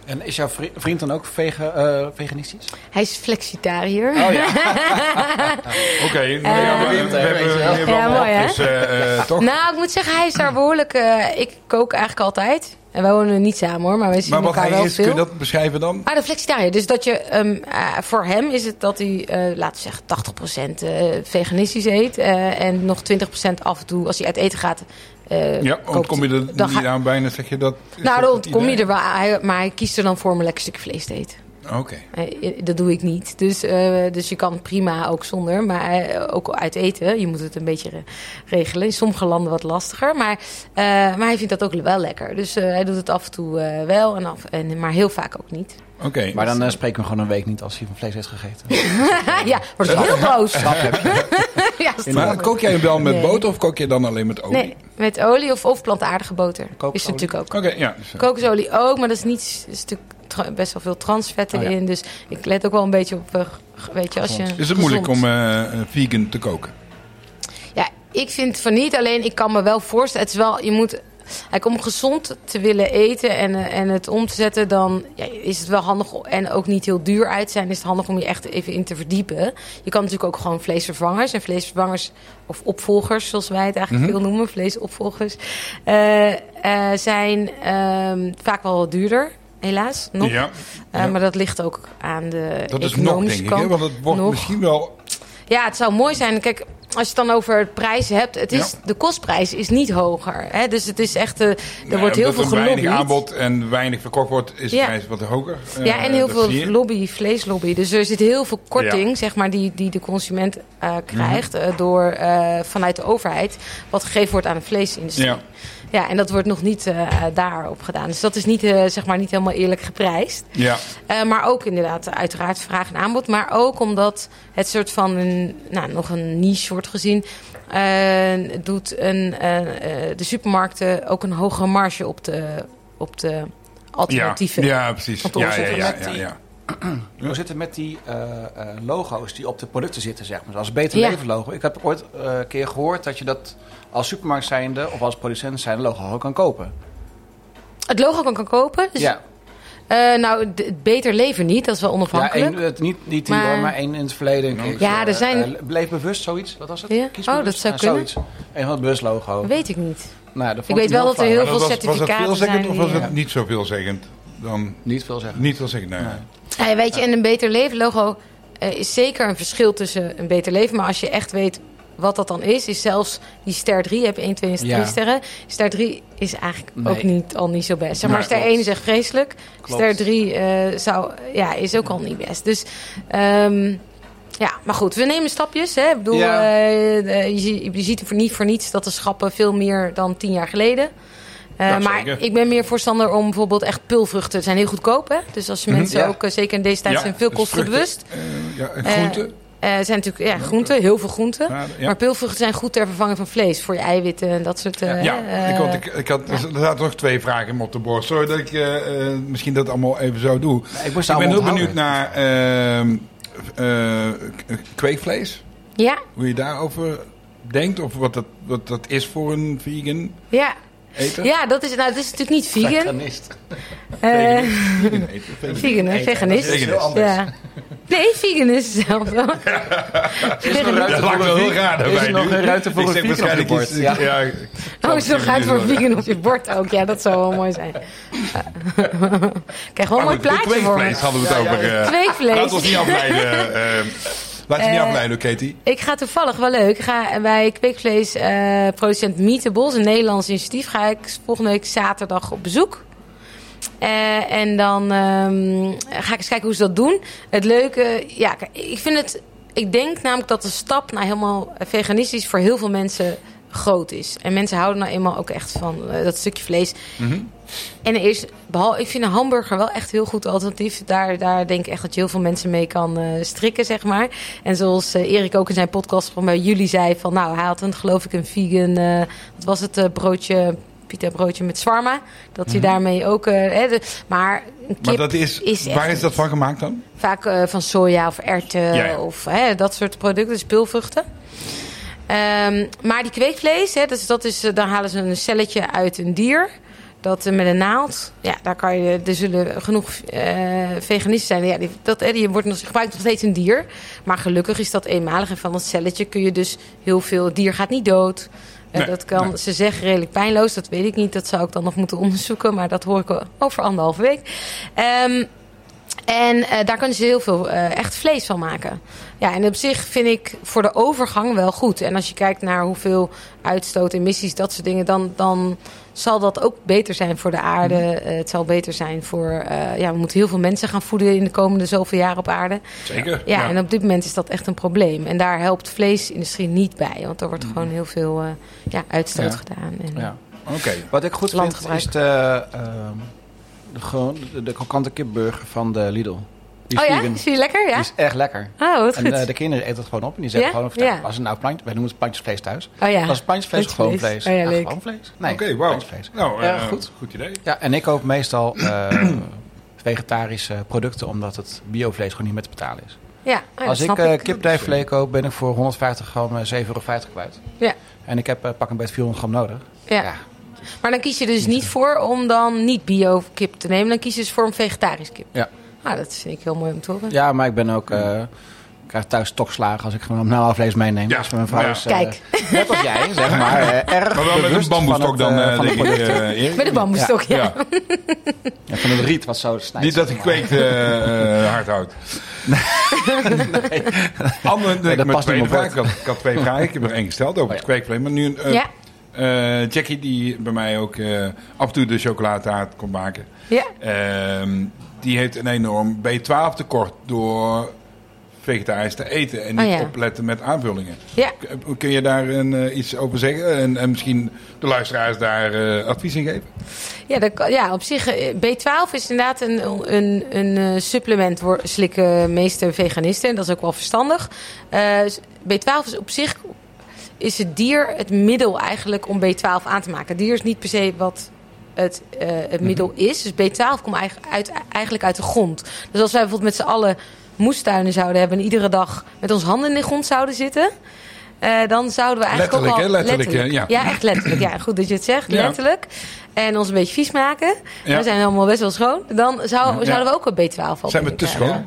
En is jouw vri- vriend dan ook vege- eh, veganistisch?
Hij is flexitariër.
Oh ja.
Oké, nou ja, maar we
weet je wel.
hebben we hebben
Ja,
wel
Eh, mooi, hè?
wat, dus eh, eh, toch?
Nou, ik moet zeggen, hij is daar behoorlijk. eh, ik kook eigenlijk altijd. En wij wonen niet samen hoor, maar we zien
Maar wat
elkaar wel
hij is,
veel.
kun je dat beschrijven dan?
Ah, de flexitariër. Dus dat je, ehm, eh, voor hem is het dat hij, eh, laten we zeggen, 80% eh, veganistisch eet. eh, en nog 20% af en toe, als hij uit eten gaat. eh,
Ja,
kookt
ontkom je
hij.
er
Dan
niet
ga-
aan bijna, zeg je dat? is dat
Nou, dan
het
ontkom je
idee?
er wel aan. Hij- Maar hij kiest er dan voor om een lekker stuk vlees te eten.
Oké.
Eh, dat doe ik niet. Dus, eh, dus je kan prima ook zonder. Maar eh, ook uit eten. Je moet het een beetje re- regelen. In sommige landen wat lastiger. Maar, eh, maar hij vindt dat ook wel lekker. Dus eh, hij doet het af en toe eh, wel. En af, en, maar heel vaak ook niet. <laughs>
Oké.
Maar dan eh, spreken we gewoon een week niet als hij van vlees heeft gegeten.
ja, wordt hij <laughs> heel
<laughs>
boos. ja,
Maar
snap ik.
kook jij wel met
Nee.
boter of kook je dan alleen met olie?
Nee, met olie of, of plantaardige boter. Is
Kookolie.
er natuurlijk ook.
Oké, ja. dus, eh,
Kokosolie ook, maar dat is niet is natuurlijk tra- best wel veel transvetten
Oh ja.
in. Dus ik let ook wel een beetje op. eh, g- Weet je, als je
Is het moeilijk
gezond-
om eh, vegan te koken?
Ja, ik vind van niet. Alleen ik kan me wel voorstellen. Het is wel, je moet. Kijk, om gezond te willen eten en, eh, en het om te zetten, dan ja, is het wel handig o- en ook niet heel duur uit zijn. Is het handig om je echt even in te verdiepen. Je kan natuurlijk ook gewoon vleesvervangers en vleesvervangers of opvolgers, zoals wij het eigenlijk
Mhm.
veel noemen, vleesopvolgers, eh, eh, zijn ehm, vaak wel wat duurder, helaas nog.
Ja.
Eh, Maar dat ligt ook aan de
Dat is nog,
economische
denk ik.
kant.
Hè? Want het wordt
Nog.
misschien wel...
Ja, het zou mooi zijn. Kijk, als je het dan over prijzen hebt, het is,
Ja.
de kostprijs is niet hoger. Hè? Dus het is echt, eh, er wordt heel veel
Omdat er
gelobbyd.
weinig aanbod en weinig verkocht wordt, is de
Ja.
prijs wat hoger. Eh,
Ja, en heel
dat
veel
zie je.
lobby, vleeslobby. Dus er zit heel veel korting,
Ja. Mhm.
zeg maar, die, die de consument eh, krijgt eh, door, eh, vanuit de overheid. Wat gegeven wordt aan de vleesindustrie.
Ja.
Ja, en dat wordt nog niet eh, daarop gedaan. Dus dat is niet, eh, zeg maar, niet helemaal eerlijk geprijsd.
Ja,
Eh, maar ook inderdaad, uiteraard vraag en aanbod. Maar ook omdat het soort van een, nou, nog een niche wordt gezien. eh, doet een, eh, eh, de supermarkten ook een hogere marge op de, op de
ja.
alternatieven.
ja precies.
Want
Ja,
ons
ja,
zit er
ja,
met
ja,
die-
ja.
Hoe zit het met die eh, eh, logo's die op de producten zitten, zeg maar? Als Beter
Ja.
Leven logo. Ik heb ooit eh, een keer gehoord dat je dat als supermarkt zijnde of als producent zijnde logo gewoon kan kopen.
Het logo kan, kan kopen. Dus,
ja,
eh, nou, d- het beter leven niet, dat is wel
ja
onafhankelijk.
één, het, niet, niet die
Maar-
hoor, maar één in het verleden. een keer.
Ja, er
Eh,
zijn-
eh, bleef bewust, zoiets. Wat was het?
Ja.
Kies
Oh,
bewust.
dat zou
Ja,
kunnen.
Zoiets. Een van het bewust logo.
Weet ik niet.
Nou, dat vond
Ik weet wel dat er
flauw.
heel
Maar dat
veel
was, was het
certificaten
veelzeggend
zijn
of was
die,
het
ja.
niet zo veelzeggend? Dan
Niet veel zeggen.
niet veelzeggend, nou nee.
Ja, weet je, en een beter leven logo eh, is zeker een verschil tussen een beter leven. Maar als je echt weet wat dat dan is, is zelfs die ster 3, heb je 1, 2 en
Ja.
3 sterren. Ster 3 is eigenlijk
Nee.
ook niet, al niet zo best. Zeg maar
Nee,
ster
klopt.
1 zegt vreselijk,
Klopt.
ster 3 eh, zou, ja, is ook al niet best. Dus ehm, ja, maar goed, we nemen stapjes. Hè? Ik bedoel,
Ja.
eh, eh, je, zie- je ziet voor niet voor niets dat de schappen veel meer dan tien jaar geleden. Eh,
Ja,
maar
zeker.
ik ben meer voorstander om bijvoorbeeld echt pulvruchten. Het zijn heel goedkoop, hè? Dus als je mensen
Ja.
ook, eh, zeker in deze tijd,
Mhm. Ja,
zijn veel
dus
kostenbewust.
vruchten, eh, ja, en
Eh,
groenten.
Eh, Het zijn natuurlijk ja, groenten, heel veel groenten.
Ja, ja.
Maar peulvruchten zijn goed ter vervanging van vlees. Voor je eiwitten en dat soort... eh,
Ja,
eh,
ik had, ik, ik had, er zaten nog twee vragen in me op de borst. Sorry dat ik eh, eh, misschien dat allemaal even zo doe.
Ik moest
Ik ben heel
onthouden.
benieuwd naar ehm, eh, k- kweekvlees.
ja,
Hoe je daarover denkt of wat dat, wat dat is voor een vegan
ja.
eten.
Ja, dat is, nou, dat is natuurlijk niet vegan.
Veganist.
Eh
Vegan eten. Vegan.
vegan, hè?
Dat is
Veganist.
heel
Veganist.
anders.
Ja. Nee, vegan is
<laughs>
hetzelfde. Veganist.
Dat lijkt me wel heel raar
Is er
daarbij
nog
nu.
een ruimte voor
Ik
een
zeg
vegan op je
waarschijnlijk
bord?
iets- ja.
Oh, zo gaat voor vegan op je bord ook. Ja, dat zou wel mooi
<laughs>
zijn. Krijg wel een
Maar
mooi
Ah, goed, de
plaatje voor me.
kweekvlees hadden we het over. eh,
Kweekvlees.
Laat ons niet
<laughs>
afleiden. eh, Laat je niet
Eh,
afleiden, Katie.
Ik ga toevallig wel leuk. Ik ga bij kweekvleesproducent producent Meatables, een Nederlands initiatief, ga ik volgende week zaterdag op bezoek. Eh, en dan ehm, ga ik eens kijken hoe ze dat doen. Het leuke, ja, k- ik vind het. Ik denk namelijk dat de stap naar helemaal veganistisch voor heel veel mensen groot is. En mensen houden nou eenmaal ook echt van eh, dat stukje vlees. En er is, behalve, ik vind een hamburger wel echt heel goed alternatief. Daar, daar denk ik echt dat je heel veel mensen mee kan eh, strikken, zeg maar. En zoals eh, Erik ook in zijn podcast van bij jullie zei... van nou, hij had een, geloof ik een vegan... eh, wat was het, eh, broodje... Pita broodje met zwarma. Dat hij daarmee ook... eh, hè, de- maar een kip
Mhm. Maar dat is,
is echt
waar is dat
niet.
van gemaakt dan?
Vaak eh, van soja of erwten
Ja, ja.
of hè, dat soort producten, dus peulvruchten. Ehm, maar die kweekvlees, hè, dus dat is, eh, dan halen ze een celletje uit een dier. Dat eh, met een naald. Ja, daar kan je, er zullen genoeg eh, veganisten zijn. Ja, die, dat, hè, die wordt nog, gebruikt nog steeds een dier. Maar gelukkig is dat eenmalig. En van dat celletje kun je dus heel veel. Het dier gaat niet dood. Eh,
Nee,
dat kan,
nee.
Ze zeggen redelijk pijnloos. Dat weet ik niet. Dat zou ik dan nog moeten onderzoeken. Maar dat hoor ik wel over anderhalve week. Ehm, en eh, daar kunnen ze heel veel eh, echt vlees van maken. Ja, en op zich vind ik voor de overgang wel goed. En als je kijkt naar hoeveel uitstoot, emissies, dat soort dingen, dan, dan zal dat ook beter zijn voor de aarde.
Mhm.
Eh, het zal beter zijn voor. eh, ja, we moeten heel veel mensen gaan voeden in de komende zoveel jaar op aarde.
Zeker.
Ja, en op dit moment is dat echt een probleem. En daar helpt de vleesindustrie niet bij, want er wordt gewoon heel veel eh, ja, uitstoot
Mhm. Ja.
gedaan. En,
Ja.
Oké.
Wat ik goed vind
Landgebruik.
is de, ehm, de, gewoon de, de krokante kipburger van de Lidl. Die
Oh ja,
vegan.
is die lekker? Ja.
Die is echt lekker.
Oh, wat
En
goed.
eh, de kinderen eten het gewoon op en die zeggen
Ja?
gewoon: vertel,
Ja.
als het nou plant, wij noemen het plantjesvlees thuis.
oh ja.
Als het plantjesvlees of gewoon vlees.
Plantjesvlees. Oh ja,
Ja,
leuk.
gewoon vlees. Nee,
Oké, wauw.
plantjesvlees.
Nou,
Ja,
eh,
goed.
goed idee.
Ja, en ik koop meestal eh, <clears throat> vegetarische producten omdat het biovlees gewoon niet meer te betalen is.
Ja, oh ja, dat
Als ik
snap
eh
ik.
kipdijvlees koop, ben ik voor 150 gram eh, 7,50 euro kwijt.
Ja.
En ik heb eh, pak een beetje 400 gram nodig.
Ja. Maar dan kies je dus niet voor om dan niet bio kip te nemen. Dan kies je dus voor een vegetarisch kip.
Ja.
Nou, dat vind ik heel mooi om te horen.
Ja, maar ik ben ook. eh, ik krijg thuis stokslagen als ik gewoon nauw vlees meeneem.
Ja.
Dus mijn vrouw
Ja.
is, eh,
Kijk.
net als jij, zeg maar. eh, erg
<laughs> Maar wel met een
bewust
bamboestok
van
dan,
het, eh,
eh,
van,
denk ik.
het,
eh, Erik.
Met een bamboestok, ja.
Ja.
ja, van het riet wat zo snijdt.
Niet dat
zeg
ik
maar.
kweekt eh, eh, hard houdt. <laughs> Ander,
dat
ik, heb
past
twee
niet op Oh
vragen. ik, had, ik had twee vragen. Ik heb er één gesteld over het kweekvlees. Maar nu eh,
Ja.
eh, Jackie, die bij mij ook eh, af en toe de chocoladetaart kon maken.
Ja.
Ehm, die heeft een enorm B12 tekort door vegetarisch te eten en
Oh,
niet
ja.
opletten met aanvullingen.
Ja.
K- Kun je daar een, eh, iets over zeggen en, en misschien de luisteraars daar eh, advies in geven?
Ja, dat kan- ja, op zich. eh, B12 is inderdaad een, een, een eh, supplement voor slikken meeste veganisten. En dat is ook wel verstandig. Eh, B12 is op zich is het dier het middel eigenlijk om B12 aan te maken. Het dier is niet per se wat het, eh, het middel
Mhm.
is. Dus B12 komt eigen- uit, eigenlijk uit de grond. Dus als wij bijvoorbeeld met z'n allen moestuinen zouden hebben... en iedere dag met onze handen in de grond zouden zitten... eh, dan zouden we eigenlijk
Letterlijk,
ook al...
hè? Letterlijk, hè?
Ja, echt letterlijk. Ja, goed dat je het zegt.
Ja.
Letterlijk. En ons een beetje vies maken.
Ja.
We zijn allemaal best wel schoon. Dan zou,
Ja.
zouden we ook een B12 op
Zijn we
moeten
te
krijgen.
schoon?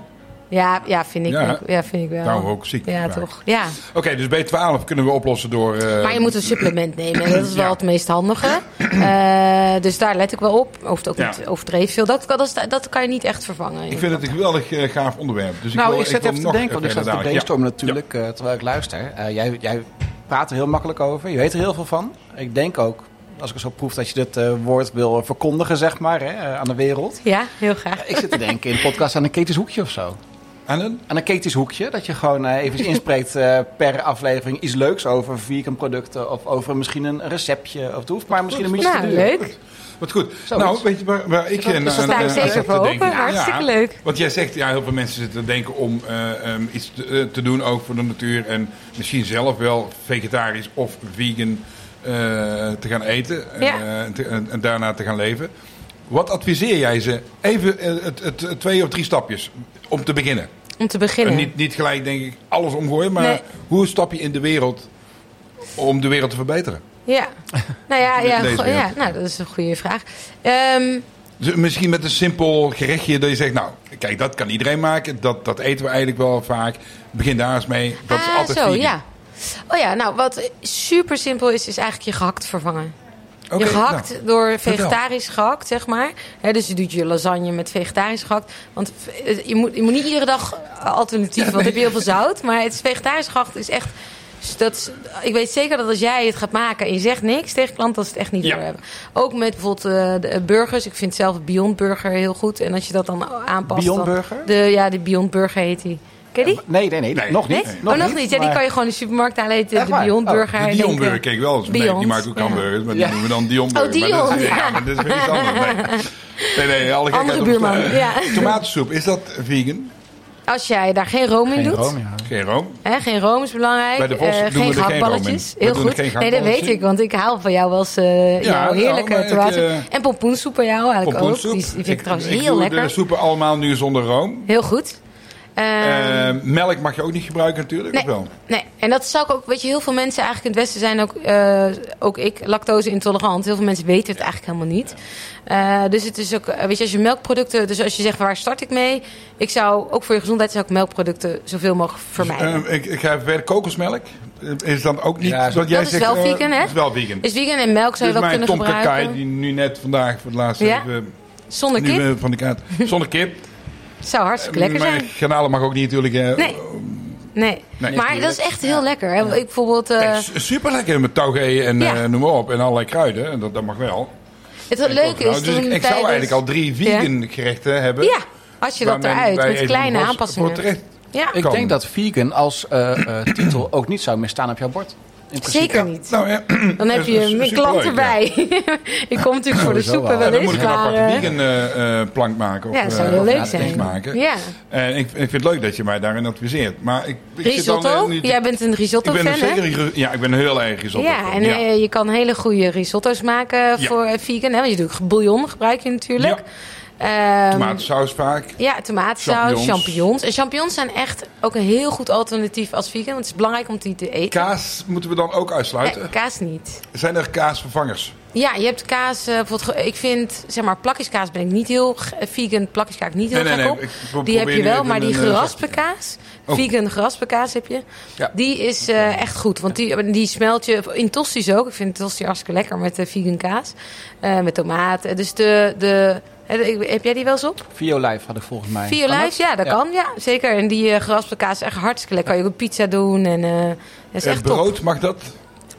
Ja, ja, vind ik,
Ja.
ook- ja, vind ik wel.
Nou, ook ziek.
Ja,
vaak.
toch. Ja.
Oké, dus B12 kunnen we oplossen door... eh,
Maar je moet dus- een
<clears throat>
supplement nemen. Dat is wel
Ja.
het meest handige.
<clears throat>
Eh, dus daar let ik wel op. Of het ook
Ja.
niet overdreven veel. Dat, kan- dat, is- dat kan je niet echt vervangen.
Ik vind het een geweldig eh, gaaf onderwerp. Dus
Nou,
ik, wil,
ik zit
wil
even te
nog
denken, want ik zat
verder
te
dadelijk. Ja.
brainstormen natuurlijk eh, terwijl ik luister. Eh, jij, jij praat er heel makkelijk over, je weet er heel veel van. Ik denk ook, als ik het zo proef, dat je dit eh, woord wil verkondigen, zeg maar, hè, eh, aan de wereld.
Ja, heel graag.
Ik zit te denken in podcast aan een ketisch hoekje of zo.
Aan een-
Aan een ketisch hoekje, dat je gewoon eh, even inspreekt eh, per aflevering iets leuks over vegan producten of over misschien een receptje. Of het hoeft maar misschien een minuutje te
Nou,
duren.
leuk.
Wat goed.
Zoiets.
Nou, weet je waar, waar ik... eh,
dat
naar-
sta ik
naar-
zeker
naar zat
voor
te
open.
denken?
Hartstikke leuk.
Want jij zegt, ja, heel veel mensen zitten te denken om eh, ehm, iets te, eh, te doen, ook voor de natuur. En misschien zelf wel vegetarisch of vegan eh, te gaan eten.
Ja.
eh, en te- en, en daarna te gaan leven. Wat adviseer jij ze? Even eh, het, het, het twee of drie stapjes om te beginnen.
Om te beginnen.
En Eh, niet, niet gelijk, denk ik, alles omgooien. Maar
Nee.
hoe stap je in de wereld om de wereld te verbeteren? <laughs>
Ja. Nou ja, ja,
Deze
go-
wereld.
ja nou, dat is een goede vraag. Ehm,
Dus misschien met een simpel gerechtje dat je zegt, nou, kijk, dat kan iedereen maken. Dat, dat eten we eigenlijk wel vaak. Begin daar eens mee. Dat is
ah,
altijd
zo,
vegan.
ja. Oh ja, nou, wat super simpel is, is eigenlijk je gehakt vervangen.
Oké,
je gehakt
nou,
door vegetarisch gehakt, zeg maar. Hè, dus je doet je lasagne met vegetarisch gehakt. Want eh, je moet, je moet niet iedere dag alternatief, want dan heb je heel veel zout. Maar het is vegetarisch gehakt is echt... Dat is, ik weet zeker dat als jij het gaat maken en je zegt niks tegen klanten, dat ze het echt niet
Ja.
doorhebben. Ook met bijvoorbeeld eh, de eh, burgers. Ik vind zelf Beyond Burger heel goed. En als je dat dan aanpast...
Beyond
dan-
Burger?
De, ja, de Beyond Burger heet die. Ken je die?
Nee, nee, nee,
Nee.
nog niet.
Nee?
Nog
oh, nog niet. Ja, die
maar-
kan je gewoon in de supermarkt halen. Heet eh,
Echt
de
waar?
Beyond
Oh,
Burger.
De
en
Dion
denk, eh,
Burger keek wel eens. Nee,
Beyond,
die maakt ook
ja.
hamburgers, maar
Ja.
die noemen we dan Dion Burger.
Oh,
Maar dat is,
Dion, ja.
maar <laughs> dat is weer iets anders. Nee, nee, nee alle gekheid
Andere
op de
buurman,
straat. <laughs>
ja.
Tomatensoep, is dat vegan?
Als jij daar geen room in
Geen
doet.
room, ja.
Geen room.
Hè, geen room is belangrijk.
Bij de Vos
eh,
doen we er
geen
geen
gehaktballetjes.
room in. We
Heel
doen er
goed.
geen
nee, dat
gehaktballetjes
weet ik, want ik haal van jou wel eens eh,
Ja,
jouw
ja,
heerlijke
maar ik,
tomaten.
eh,
en pompoensoep bij jou eigenlijk ook. Die, die vind ik, trouwens heel
Ik doe
lekker.
de soepen allemaal nu zonder room.
Heel goed. Ehm,
Eh, melk mag je ook niet gebruiken natuurlijk, of wel?
Nee, en dat zou ik ook. Weet je, heel veel mensen eigenlijk in het Westen zijn ook, eh, ook ik, lactose intolerant. Heel veel mensen weten het eigenlijk helemaal niet. Eh, dus het is ook, eh, weet je, als je melkproducten. Dus als je zegt waar start ik mee? Ik zou ook voor je gezondheid zou ik melkproducten zoveel mogelijk vermijden.
Eh, ik, ik ga even verder. Kokosmelk eh, is dan ook niet...
Ja,
wat
dat
jij
is
zegt,
wel
eh,
vegan, hè?
Dat is wel vegan.
is vegan en melk zou
Dus
je wel
mijn
kunnen
Tom Kakai,
gebruiken.
die nu net vandaag voor het laatst
Ja?
even,
Zonder
nu,
kip.
eh, van de
<laughs>
kaart. Zonder kip.
zou hartstikke lekker
maar
zijn.
Granalen mag ook niet natuurlijk. eh,
Nee. Nee.
Nee.
maar dat is echt heel lekker. Hè? Ik bijvoorbeeld, eh,
Nee, su- superlekker met taugé en
Ja.
eh, noem maar op. En allerlei kruiden. En dat, dat mag wel.
het wat leuk is.
Dus ik,
toen
ik zou
tijdens-
eigenlijk al drie vegan gerechten hebben.
Ja, als je dat
waar men
eruit
bij
met
Eten
kleine
van Bos
aanpassingen.
Voor terecht.
Ja,
Ik
Kan.
denk dat vegan als eh, eh, titel ook niet zou meer staan op jouw bord. In principe.
zeker niet.
Nou, ja, <clears throat>
Dan heb
dat
je
is
een
superleuk,
klant
ja.
erbij. <laughs> ik kom natuurlijk voor de
Sowieso
soepen
wel.
Ja,
wel
dan moet
eens,
ik een
maar...
aparte
eh,
vegan eh, eh, plank maken.
Ja,
of,
dat zou
eh,
heel
of
leuk
laten
zijn.
maken.
Ja.
En ik, ik vind het leuk dat je mij daarin adviseert. Maar ik, ik zit dan, eh,
Risotto?
niet-
Jij bent een
ik ben
risotto-fan,
een
hè?
zeker, ri- ja, ik ben heel erg risotto.
Ja, en eh, je kan hele goede risotto's maken
Ja.
voor eh, vegan. Hè? Want je doet ook bouillon, gebruik je natuurlijk. Ehm,
tomatensaus vaak.
Ja, tomatensaus,
Champignons.
champignons. En champignons zijn echt ook een heel goed alternatief als vegan. Want het is belangrijk om die te eten.
Kaas moeten we dan ook
Nee,
uitsluiten.
kaas niet.
Zijn er kaasvervangers?
Ja, je hebt kaas. eh, bijvoorbeeld, ge- ik vind, zeg maar, plakjeskaas ben ik niet heel g- eh, vegan. Plakjeskaas niet heel
Nee, nee, nee,
gek op.
ik pro-
die heb
probeer nu
je wel,
even
maar die
een, eh,
geraspe kaas,
Oh.
vegan geraspe kaas heb je.
Ja.
Die is eh, echt goed, want die, die smelt je in tosti's ook. Ik vind tosti hartstikke lekker met eh, vegan kaas, eh, met tomaat. Eh, Dus de, de eh, heb jij die wel eens op?
Violife had ik volgens mij.
Vier
Kan
lijf, ja, dat
Ja.
kan. Ja, zeker. En die eh geraspte kaas is echt hartstikke lekker. Kan je ook op pizza doen en eh, dat is
Eh,
echt top.
brood, mag dat?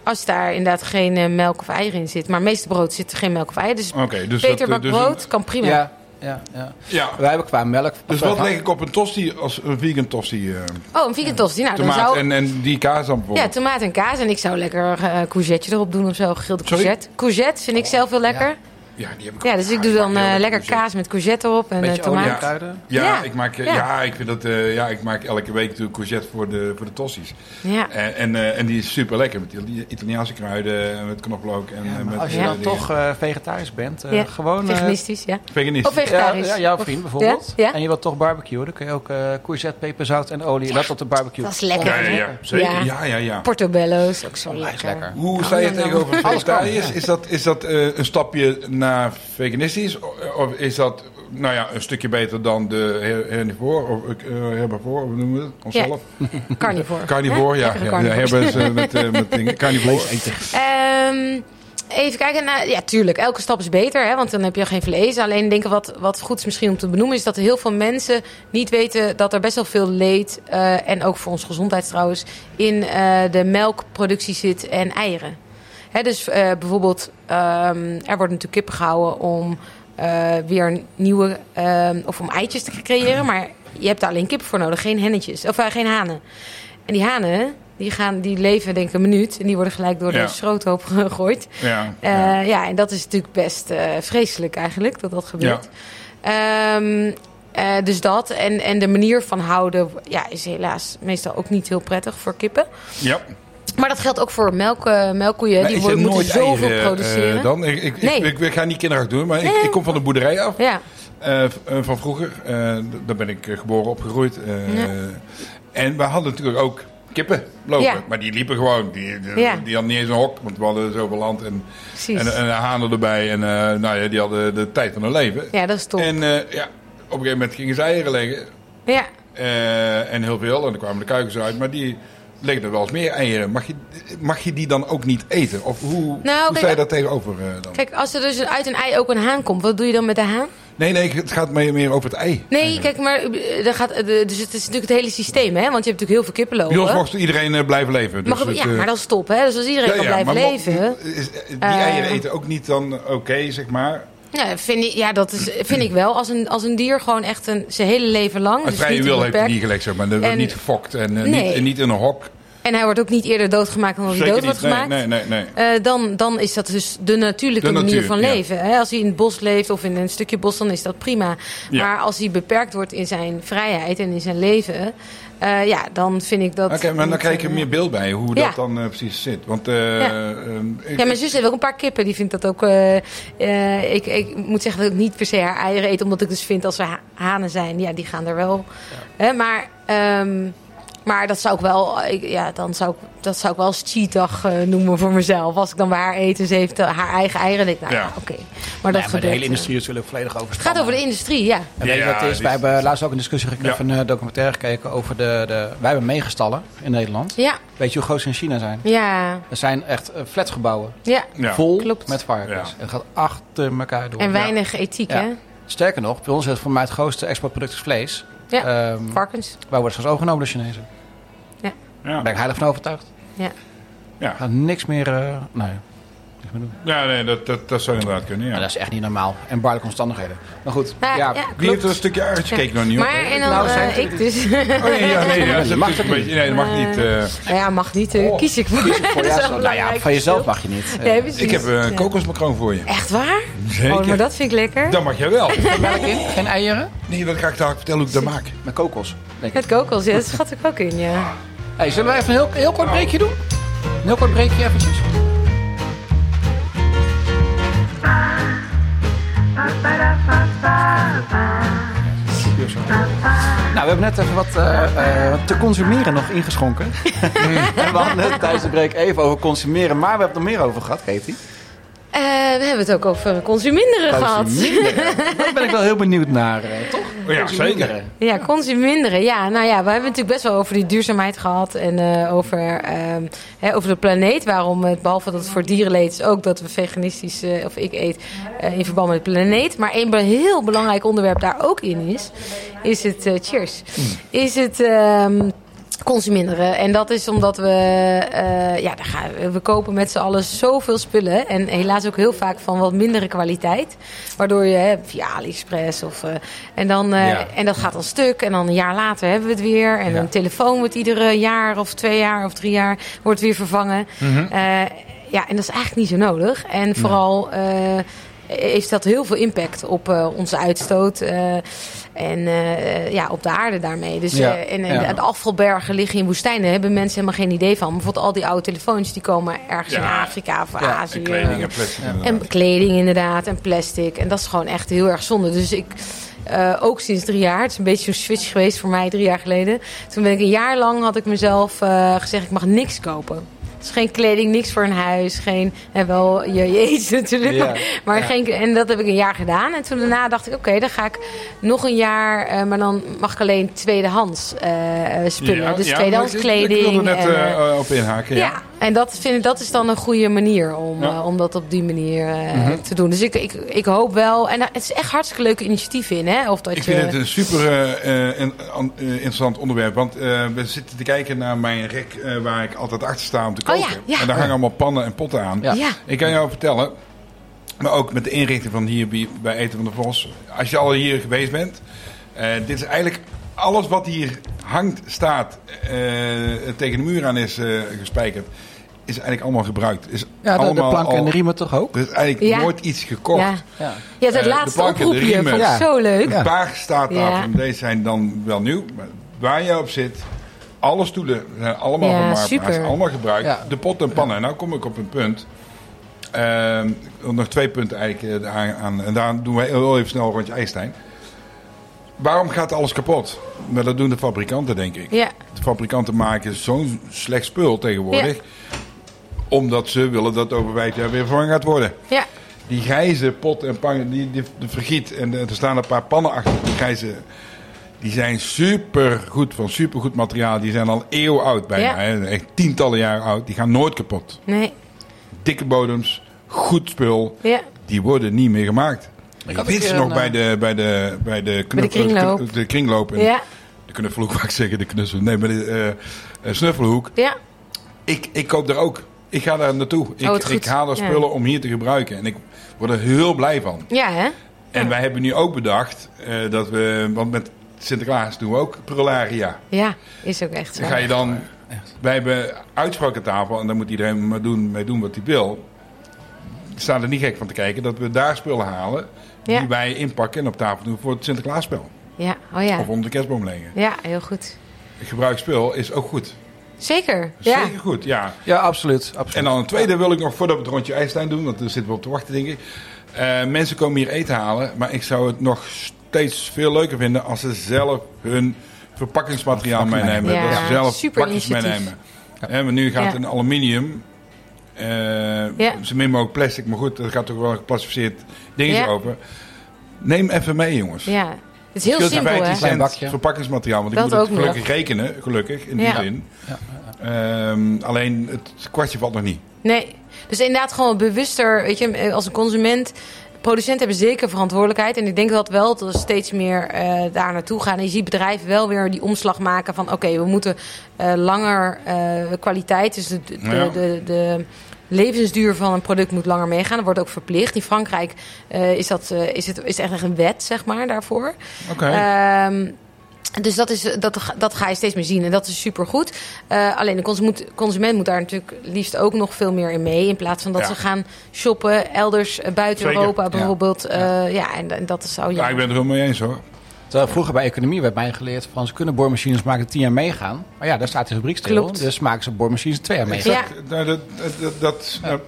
Als daar inderdaad geen eh, melk of eieren in zit. Maar meeste brood zit er geen melk of eieren. Dus
Oké, dus
beter
dat,
bakt
eh, dus
brood
een-
kan prima.
Ja, ja, ja.
ja.
Wij hebben qua melk...
Dus wat leg ik op een tosti als een vegan tosti? eh,
Oh, een vegan tosti. Nou, dan
tomaat
zou...
en, en die kaas dan
Ja,
bijvoorbeeld?
tomaat en kaas. En ik zou lekker eh courgette erop doen of zo. Gegrilde
Sorry?
courgette. Courgette vind ik zelf heel lekker. Ja,
Ja, die heb ik
dus ik doe dan eh, lekker kaas met courgette erop en eh,
Beetje olie en
tomaat.
kruiden.
Ja,
Ja,
ik maak, eh, ja.
ja.
ik vind dat, eh, ja, ik maak elke week natuurlijk courgette voor de, voor de tossies.
Ja.
En, en, eh, en die is super lekker met die Italiaanse kruiden, en met knoflook en eh, met
Als je
eh,
Ja.
dan
dingen.
toch eh, vegetarisch bent, eh,
Ja,
gewoon... eh,
Veganistisch, ja.
Veganist.
Of vegetarisch.
Ja, ja, jouw vriend bijvoorbeeld.
Ja?
En je wilt toch barbecuen, dan kun je ook eh courgette, peperzout en olie. dat op de barbecue.
dat is lekker.
ja, ja, ja, zeker. Ja,
Ja.
ja, ja.
Portobello's, ook zo
Onwijs
lekker.
lekker.
Hoe sta je
nou, nou.
tegenover
Alles kan,
vegetariërs? Is dat, is dat eh, een stapje naar veganistisch? O- Of is dat nou ja, een stukje beter dan de her- hernivoor? Of eh, herbivoor, hoe noemen we dat? Onszelf?
Carnivore.
Carnivore,
Hè?
ja.
Lekkere
ja, ja
carnivore.
herbers, eh, met, eh, <laughs> met dingen. Carnivore.
Ehm, even kijken. Nou, ja, tuurlijk. Elke stap is beter, hè, want dan heb je geen vlees. Alleen denk ik wat, wat goed is misschien om te benoemen... is dat heel veel mensen niet weten dat er best wel veel leed... eh, en ook voor onze gezondheid trouwens... in eh, de melkproductie zit en eieren. Hè, dus eh, bijvoorbeeld, ehm, er worden natuurlijk kippen gehouden om... eh, weer een nieuwe, ehm, of om eitjes te creëren. Maar je hebt daar alleen kippen voor nodig, geen hennetjes, of eh, geen hanen. En die hanen, die, gaan, die leven denk ik een minuut. En die worden gelijk door
Ja.
de schroothoop <laughs> gegooid.
Ja,
Eh,
ja.
ja. en dat is natuurlijk best eh, vreselijk eigenlijk dat dat gebeurt. Ehm, eh, dus dat. En, en de manier van houden ja, is helaas meestal ook niet heel prettig voor kippen.
ja.
Maar dat geldt ook voor melk, eh, melkkoeien.
Maar
die
is er
worden, moeten
nooit
zoveel
eieren, eh,
produceren.
dan? Ik, ik,
Nee.
ik, ik, ga niet kinderachtig doen, maar ik,
Nee.
ik kom van de boerderij af.
Ja,
Eh, v- eh, van vroeger. Eh, d- daar ben ik eh, geboren, opgegroeid. Eh,
Ja.
En we hadden natuurlijk ook kippen lopen.
Ja.
Maar die liepen gewoon. Die, die,
Ja.
die hadden niet eens een hok, want we hadden zoveel land en, en,
precies.
en, hanen erbij. En eh, nou ja, die hadden de tijd van hun leven.
ja, dat is top.
En eh, ja, op een gegeven moment gingen ze eieren leggen.
ja.
eh, en heel veel. En dan kwamen de kuikens uit. Maar die legden wel eens meer eieren. Mag je, mag je die dan ook niet eten? Of hoe, hoe
Nou, kijk,
sta je daar tegenover eh, dan?
Kijk, als er dus uit een ei ook een haan komt, wat doe je dan met de haan?
Nee, nee, het gaat meer meer over het ei.
Nee, kijk, maar eh, daar gaat, eh, de- dus het is natuurlijk het hele systeem, hè? Want je hebt natuurlijk heel veel kippen
Bij ons
lopen.
mocht iedereen eh, blijven leven. Dus
Oh, Mag
het,
ja,
eh,
maar dat is top, hè? Dus als iedereen
ja,
kan
ja,
blijven
maar mo-
leven.
is- Die
Eh.
eieren eten ook niet dan oké, zeg maar.
Ja, vind ik, ja dat is, vind ik wel. Als een, als een dier gewoon echt een, zijn hele leven lang.
Uit
dus
vrije
niet
wil heeft hij
onbeperkt.
niet gelegd, zeg maar. Er wordt
En-
niet gefokt en eh,
Nee.
niet, en niet in een hok.
En hij wordt ook niet eerder doodgemaakt dan dat hij dood wordt
Nee,
gemaakt.
Nee, nee, nee.
Eh, dan, dan is dat dus de natuurlijke
De
manier
natuur,
van
ja.
leven. Hè? Als hij in het bos leeft of in een stukje bos, dan is dat prima.
Ja.
Maar als hij beperkt wordt in zijn vrijheid en in zijn leven, eh, ja, dan vind ik dat. eh,
Oké, maar dan krijg je meer beeld bij hoe
Ja.
dat dan eh, precies zit. Want eh,
Ja.
ehm, ik-
Ja, mijn zus heeft ook een paar kippen. Die vindt dat ook. eh, eh, ik, ik moet zeggen dat ik niet per se haar eieren eet. Omdat ik dus vind als er ha- hanen zijn, ja, die gaan er wel. Hè, maar, ehm, maar dat zou ik wel. eh, ik- ja, dan zou ik, dat zou ik wel als cheatdag eh, noemen voor mezelf. Als ik dan bij haar eet en ze heeft eh, haar eigen eieren. Dan denk ik, nou ja,
Ja.
oké. Maar dat
Ja, maar
gebeurt.
de hele
eh.
industrie is natuurlijk volledig
Het
overspannen.
gaat over de industrie, ja.
En weet je
Ja,
wat het is?
die-
Wij hebben laatst ook een discussie gekregen,
Ja.
van een eh, documentaire gekeken over de, de... Wij hebben meegestallen in Nederland.
Ja,
Weet je hoe groot ze in China zijn?
ja,
Er zijn echt eh, flatgebouwen.
ja.
ja.
Vol
Klopt.
met varkens.
Ja.
En het gaat achter elkaar door.
En weinig ethiek,
Ja.
hè?
Sterker nog, bij ons is het voor mij het grootste exportproduct is vlees.
Ja.
Ehm,
Varkens.
wij worden straks overgenomen door Chinezen. Daar
Ja.
ben ik heilig van overtuigd.
Ja.
Er gaat niks meer... eh, nee. Niks meer doen.
Ja, nee, dat, dat, dat zou inderdaad kunnen, ja.
Nou, dat is echt niet normaal. En barlijke omstandigheden. Maar goed,
Ja,
ja,
Nou, ja.
Wie heeft er een stukje
Ja.
uitgekeken nog niet op?
Maar en dan
Nou,
eh,
zijn het-
ik dus.
<laughs>
Oh, nee, ja, nee, <laughs> ja, dat is
Dat mag
natuurlijk
toch
een beetje... Nee, dat mag niet. eh.
Nou ja, mag niet. eh,
Oh.
Kies ik voor. <laughs> Dat
voor
is wel
jou zo- nou ja,
belangrijk
van jezelf
verschil.
mag je niet. Eh,
Nee, precies.
ik heb eh, een
Ja.
kokosmacroon voor je.
Echt waar?
Zeker.
Oh, maar dat vind ik lekker.
Dat mag jij
<laughs>
wel.
melk in, geen eieren.
Nee, dat ga ik dadelijk vertellen hoe ik dat maak.
Met kokos, denk ik.
Met kokos, ja, dat schat ik ook in, ja.
Hey, zullen we even een heel, heel kort breekje doen? Een heel kort breekje eventjes. Nou, we hebben net even wat eh, eh, te consumeren nog ingeschonken. en <laughs> we hadden net tijdens de break even over consumeren, maar we hebben het er meer over gehad, Katie.
Eh, we hebben het ook over consuminderen gehad.
Consumeren. Daar ben ik wel heel benieuwd naar, eh, toch?
Oh, ja,
Consumeren.
zeker.
Ja, consuminderen. Ja, nou ja, we hebben het natuurlijk best wel over die duurzaamheid gehad. En eh, over, ehm, hè, over de planeet. Waarom het, behalve dat het voor dieren leed, is ook dat we veganistisch, eh, of ik eet, eh, in verband met de planeet. Maar één be- heel belangrijk onderwerp daar ook in is, is het, eh, cheers, is het... ehm, consuminderen. En dat is omdat we, eh, ja, daar gaan, we kopen met z'n allen zoveel spullen. En helaas ook heel vaak van wat mindere kwaliteit. Waardoor je hè, via AliExpress of. eh, en, dan, eh,
Ja.
en dat gaat dan stuk. En dan een jaar later hebben we het weer. En een telefoon wordt iedere jaar of twee jaar of drie jaar wordt weer vervangen.
Mhm.
Eh, ja, en dat is eigenlijk niet zo nodig. En vooral. eh, heeft dat heel veel impact op eh, onze uitstoot eh, en eh, ja, op de aarde daarmee. Dus
Ja,
eh, en, en
ja.
de afvalbergen liggen in woestijnen, hebben mensen helemaal geen idee van. Bijvoorbeeld al die oude telefoons die komen ergens in
Ja.
Afrika of
Ja, en
Azië.
En kleding en plastic. inderdaad.
En kleding inderdaad, en plastic. En dat is gewoon echt heel erg zonde. Dus ik, eh, ook sinds drie jaar, het is een beetje zo'n switch geweest voor mij drie jaar geleden. Toen ben ik een jaar lang, had ik mezelf eh, gezegd, ik mag niks kopen. Dus geen kleding, niks voor een huis, geen, en wel je, je eet natuurlijk.
Ja,
maar- maar
ja.
geen, en dat heb ik een jaar gedaan. En toen daarna dacht ik, oké, dan ga ik nog een jaar, eh, maar dan mag ik alleen tweedehands eh, eh, spullen.
Ja,
dus
ja,
tweedehands
maar ik-
kleding.
Ik wilde net
en, eh,
eh, op inhaken,
ja.
ja.
en dat, vind ik, dat is dan een goede manier om,
Ja.
eh, om dat op die manier eh, te doen. Dus ik, ik, ik hoop wel. En daar- het is echt hartstikke leuke initiatief in, hè? Of dat
Ik
je.
vind het een super eh, eh, in- an- eh, interessant onderwerp. Want eh, we zitten te kijken naar mijn rek eh, waar ik altijd achter sta om te
Oh
koken.
ja, ja.
En daar hangen allemaal pannen en potten aan.
Ja.
ja.
Ik kan jou vertellen, maar ook met de inrichting van hier bij- bij Eten van de Vos. Als je al hier geweest bent, eh, dit is eigenlijk alles wat hier hangt, staat, eh, tegen de muur aan is eh, gespijkerd. Is eigenlijk allemaal gebruikt. Is
Ja, de, de
allemaal
planken en
al-
de riemen toch ook?
Er is eigenlijk
Ja.
nooit iets gekocht.
Ja.
Ja.
Je hebt het
Eh, de
laatste
planken, de
oproepje.
riemen.
Vond ik
Ja.
zo leuk.
Ja.
Een paar staattafelen,
Ja.
deze zijn dan wel nieuw. Maar waar jij op zit, alle stoelen zijn allemaal
Ja,
van Marpaas,
super.
allemaal gebruikt.
Ja.
De pot en pannen. En nou kom ik op een punt. Ehm, nog twee punten eigenlijk eh, aan, aan. En daar doen we heel even snel een rondje IJstein. Waarom gaat alles kapot? Maar dat doen de fabrikanten, denk ik.
Ja.
De fabrikanten maken zo'n slecht spul tegenwoordig. Omdat ze willen dat over vijf jaar weer vervangen gaat worden.
Ja.
Die grijze pot en pan, die, die, de vergiet en eh, er staan een paar pannen achter. Die grijze, die zijn supergoed, van supergoed materiaal. Die zijn al eeuwen oud bijna,
Ja.
hè. echt tientallen jaren oud. Die gaan nooit kapot.
Nee.
Dikke bodems, goed spul,
Ja.
die worden niet meer gemaakt. eh,
had een
Dit is
keer
nog
een,
bij de, bij de, bij de, knuffel-
kringloop.
de- de kringloop en
Ja.
De <laughs> knuffelhoek, wou ik zeggen, de knussel. Nee, maar de eh, eh, snuffelhoek.
Ja.
Ik, ik koop daar ook Ik ga daar naartoe. Ik,
Oh, wat goed.
ik haal daar
Ja.
spullen om hier te gebruiken. En ik word er heel blij van.
Ja, hè?
En wij hebben nu ook bedacht eh, dat we... Want met Sinterklaas doen we ook prularia.
Ja, is ook echt zo.
Dan ga je dan... Wij hebben uitspraakentafel en dan moet iedereen maar doen, mee doen wat hij wil. We staan er niet gek van te kijken dat we daar spullen halen...
Ja.
die wij inpakken en op tafel doen voor het Sinterklaasspel.
Ja, oh ja.
Of onder de kerstboom leggen.
Ja, heel goed.
Gebruik spul is ook goed.
Zeker. Ja.
Zeker goed, ja.
Ja, absoluut. absoluut.
En dan een tweede wil ik nog voordat we het rondje IJslijn doen, want daar zitten we op te wachten, denk ik. Eh, mensen komen hier eten halen, maar ik zou het nog steeds veel leuker vinden als ze zelf hun verpakkingsmateriaal meenemen.
Ja,
dat ze zelf
super
pakjes
initiatief.
meenemen. Hè, maar nu gaat het
Ja.
in aluminium. eh
Ja.
Zo min mogelijk plastic, maar goed, er gaat toch wel een geclassificeerd ding
Ja.
over. Neem even mee, jongens.
ja. Het is heel
Scheelt
simpel, hè?
15
Klein
cent
bakje.
verpakkingsmateriaal. Want
Dat
ik moet het
ook nog.
gelukkig rekenen, gelukkig, in die
Ja.
zin. Ehm, alleen het kwartje valt nog niet.
Nee. Dus inderdaad gewoon bewuster, weet je, als een consument. Producenten hebben zeker verantwoordelijkheid. En ik denk dat wel dat we steeds meer eh, daar naartoe gaan. En je ziet bedrijven wel weer die omslag maken van... oké, we moeten eh, langer eh, kwaliteit... dus de, de,
Ja.
de, de, de levensduur van een product moet langer meegaan. Dat wordt ook verplicht. In Frankrijk eh, is, dat, eh, is, het, is echt een wet, zeg maar, daarvoor.
Oké.
Ehm, dus dat, is, dat, ga- dat ga je steeds meer zien en dat is supergoed. Eh alleen de consument, consument moet daar natuurlijk liefst ook nog veel meer in mee. In plaats van dat
Ja.
ze gaan shoppen elders eh, buiten
Zeker,
Europa
ja.
bijvoorbeeld. Eh, Ja, en, en dat zou
Ja, ik ben het er helemaal mee eens hoor.
Terwijl vroeger bij economie werd mij geleerd van ze kunnen boormachines maken die tien jaar meegaan. Maar ja, daar staat de fabriek stil.
Klopt.
Dus maken ze boormachines twee jaar mee.
Ja.
Exact, nou, dat, dat, dat, dat- nou,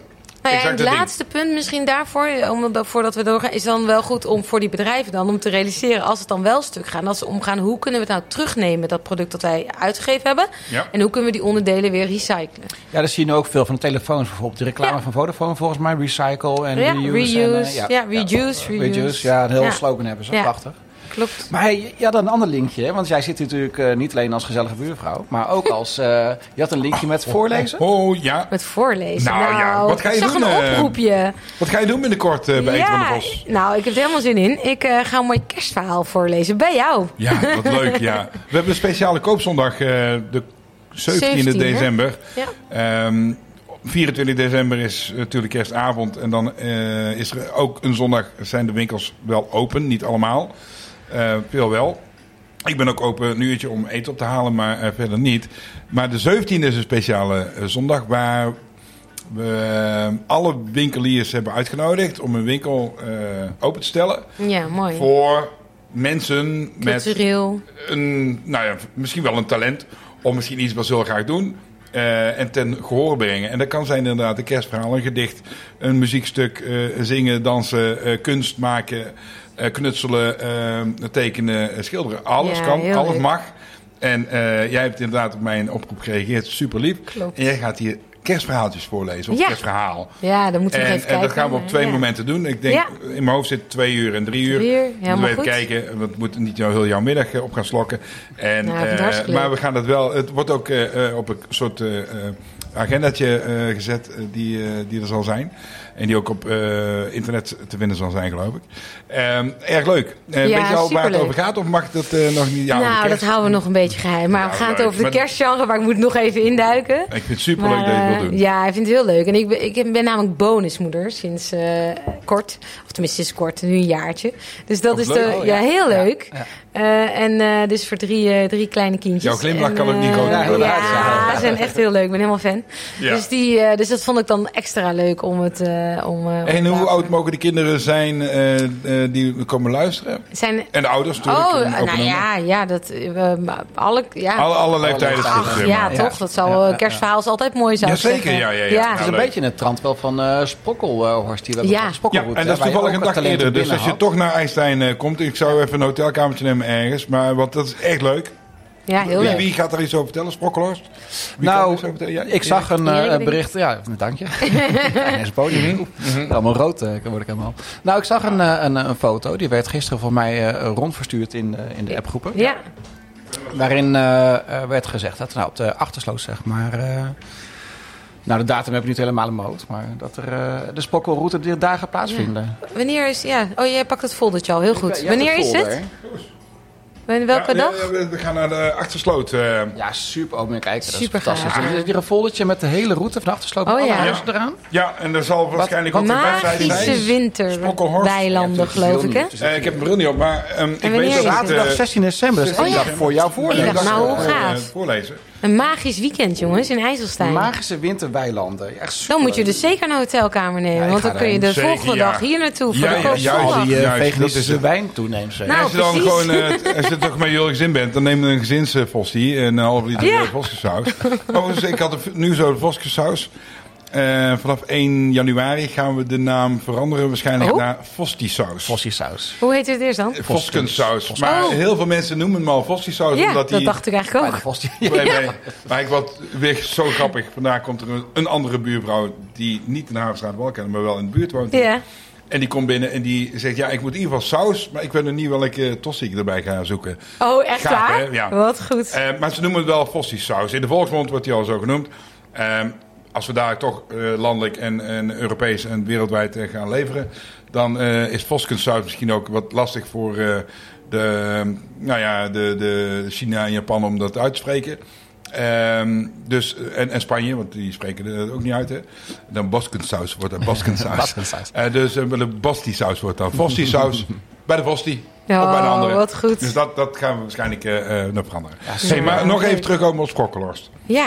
Nou ja, en
exact dat
het
ding.
laatste punt misschien daarvoor, eh, om, dat- voordat we doorgaan, is dan wel goed om voor die bedrijven dan om te realiseren als het dan wel stuk gaat. en Als ze omgaan, hoe kunnen we het nou terugnemen, dat product dat wij uitgegeven hebben?
Ja.
En hoe kunnen we die onderdelen weer recyclen?
Ja, dat zie je nu ook veel van de telefoons bijvoorbeeld. De reclame
Ja.
van Vodafone volgens mij. Recycle en
Ja,
reuse. en,
reuse.
eh,
Ja, reduce,
Ja,
reuse.
Ja, een heel
Ja.
slogan hebben ze.
Ja.
Prachtig.
Klopt.
Maar hey, je had een ander linkje. hè? Want jij zit hier natuurlijk eh, niet alleen als gezellige buurvrouw. Maar
<laughs>
ook als... eh, je had een linkje met voorlezen.
Oh ja.
Met voorlezen.
Nou ja, wat ga je
ik zag
doen,
een
eh,
oproepje.
Wat ga je doen binnenkort eh, bij Eten van de Bos?
nou, ik heb er helemaal zin in. Ik eh, ga een mooi kerstverhaal voorlezen bij jou.
Ja, wat leuk, ja. We hebben een speciale koopzondag, eh, de 17e
17e, hè?
december.
Ja.
Ehm, 24 december is natuurlijk kerstavond. En dan eh, is er ook een zondag zijn de winkels wel open. Niet allemaal. Eh, veel wel. Ik ben ook open een uurtje om eten op te halen, maar eh, verder niet. Maar de 17e is een speciale eh, zondag waar we eh, alle winkeliers hebben uitgenodigd om hun winkel eh, open te stellen.
Ja, mooi.
Voor mensen met
Cultureel.
een, nou ja, misschien wel een talent. Of misschien iets wat ze heel graag doen. eh, en ten gehoor brengen. En dat kan zijn inderdaad een kerstverhaal, een gedicht, een muziekstuk, eh, zingen, dansen, eh, kunst maken, eh, knutselen, eh, tekenen, eh, schilderen. Alles
Ja,
kan,
heel
alles
leuk.
mag. En eh, jij hebt inderdaad op mijn oproep gereageerd, super lief.
Klopt.
En jij gaat hier kerstverhaaltjes voorlezen, of
Ja.
kerstverhaal.
Ja, dan moeten
En,
we nog
en
even kijken.
dat gaan we op twee
Ja.
momenten doen. Ik denk,
Ja.
in mijn hoofd zit twee uur en drie uur.
Drie uur,
Moeten we
helemaal
even
goed.
kijken, want we moeten niet jou heel jouw middag eh, op gaan slokken. En,
Nou, ik vind het
eh,
hartstikke
maar
leuk.
we gaan dat wel. Het wordt ook eh, eh, op een soort eh, eh, agendatje eh, gezet eh, die, eh, die er zal zijn. En die ook op eh, internet te vinden zal zijn, geloof ik. Ehm, erg leuk. Eh
Ja,
weet je al waar het
superleuk.
over gaat? Of mag dat eh, nog niet? Ja, over
nou,
kerst.
dat houden we nog een beetje geheim. Maar
Ja,
we gaan het
leuk.
over de
Maar-
kerstgenre, maar ik moet nog even induiken.
Ik vind het super leuk
Maar,
dat je het
eh,
wilt doen.
Ja, ik vind het heel leuk. En ik ben, ik ben namelijk bonusmoeder sinds eh, kort. Of tenminste, sinds kort, nu een jaartje. Dus dat
Wat
is
leuk.
de,
Oh,
ja.
ja.
heel
Ja,
leuk.
ja.
Eh, en eh, dus voor drie, eh, drie kleine kindjes.
Jouw glimlach
En,
kan ook niet
eh,
groter
dan dat.
Ja, ze zijn echt heel leuk. Ik ben helemaal fan.
Ja.
Dus, die, eh, dus dat vond ik dan extra leuk om het... eh, om, eh, om
En hoe
daar-
oud mogen de kinderen zijn eh, eh, die komen luisteren?
Zijn...
En de ouders natuurlijk.
Oh,
en ook
nou
een-
ja, ja, dat... eh, maar alle, ja.
Alle, alle leeftijden
leeftijden.
zitten
ja,
erin, maar.
toch? Dat zal,
Ja, ja,
eh, kerstverhaal is altijd mooi, zou ik
Jazeker,
zeggen.
ja, ja, ja.
Het is
Ja,
een
leuk.
beetje in het trant wel van eh Sprokkelhorst. die we
Ja. eh,
hebben gehad.
Ja,
Sprokkelroute,
en dat
hè,
is
waar
toevallig
je
een
ook wat
dag eerder.
talenten
Dus als je
binnen
toch naar IJslijn eh, komt, ik zou even een hotelkamertje nemen ergens. Maar want dat is echt leuk.
Ja, heel
wie,
leuk.
wie gaat er iets over vertellen, Sprokkelhorst? Wie
Nou,
kan er iets over vertellen?
had.
Jij?
Ik zag een
Ja,
eh,
ik denk-
bericht. Ja,
<laughs>
dank je. Hij is podium. Oep. Allemaal rood eh, word ik helemaal. Nou, ik zag een, eh, een, een foto. Die werd gisteren van mij eh, rondverstuurd in de, in de appgroepen.
Ja,
Waarin eh, eh, werd gezegd dat nou, op de achtersloot, zeg maar. eh, nou, de datum heb ik niet helemaal in mijn hoofd. Maar dat er eh, de sprokkelroute die daar gaat plaatsvinden.
wanneer is... Ja. Oh, jij pakt het foldertje al, heel goed.
eh, Jij hebt
wanneer
het
is
folder,
het?
hè?
Wel- Welke
Ja,
dag?
ja, we- we gaan naar de achtersloot. eh.
Ja, super ook meer kijken. Dat
Super
is fantastisch.
gaaf.
Er is hier een foldertje met de hele route van de achtersloop.
Oh,
alle
ja.
huizen eraan.
ja, en er zal waarschijnlijk ook een wedstrijd
Magische
zijn. Sprokkelhorst.
Ja,
winterweilanden,
het is heel
geloof ik, hè?
nieuw. Het is
Eh, ik heb een bril niet op, maar ehm, ik
wanneer
weet
is
dat...
het?
Zaterdag 16 december, dat is één
Oh, ja.
dag Eh, voor jouw
Eén
voorlezen.
dag. Nou, hoe gaaf.
Voorlezen.
Een magisch weekend, jongens, in IJsselstein.
Magische winterweilanden. Echt super.
eh, Dan moet je dus zeker een hotelkamer nemen.
Ja, ik
want
ga
dan kun je de
daarheen.
Zeker,
volgende
ja.
dag hier naartoe voor
Ja,
de
ja,
kostzondag.
juist,
Die eh,
Juist, dat is
veganistische
het.
wijn toeneemt zeg.
Oh, Nou,
als je dan
precies.
gewoon, eh, als je toch met jullie gezin bent, dan neem je een gezinsvossie en een half liter
Ja.
ja. Overigens, ik had een v- nieuws over voskensaus. Eh vanaf 1 januari gaan we de naam veranderen waarschijnlijk
Oh.
naar Vostisaus.
Fossiesaus.
Hoe heet het eerst
Eh,
dan?
Voskensaus. Maar
Oh.
heel veel mensen noemen hem al Vostisaus
Ja,
omdat
dat
hij <laughs>
dacht ik eigenlijk
Maar
ook.
<laughs> Fossie-
Nee, nee. Maar ik wat weer zo grappig. Vandaag komt er een, een andere buurvrouw die niet in de Havenstraat wel kent, maar wel in de buurt woont.
Ja.
En die komt binnen en die zegt: Ja, ik moet in ieder geval saus, maar ik weet nog niet welke tossie ik erbij ga zoeken.
Oh, echt
Gaaf, hè?
waar?
Ja.
Wat goed.
Eh, maar ze noemen het wel saus. In de volksmond wordt die al zo genoemd. Ehm, als we daar toch eh, landelijk en, en Europees en wereldwijd eh, gaan leveren, dan eh, is voskensaus misschien ook wat lastig voor eh, de, ehm, nou ja, de, de China en Japan om dat uit te spreken. Ehm, dus, en, en Spanje, want die spreken het ook niet uit. Hè? Dan Baskensaus wordt dat Baskensaus.
Baskensaus.
Eh, dus eh, de Basti-saus wordt dan Vosti-saus. bij de Vosti. of bij de
Oh,
andere.
wat goed.
Dus dat, dat gaan we waarschijnlijk eh eh, nog veranderen.
super.
Hey, maar nog even terug over op Sprokkelhorst.
Ja.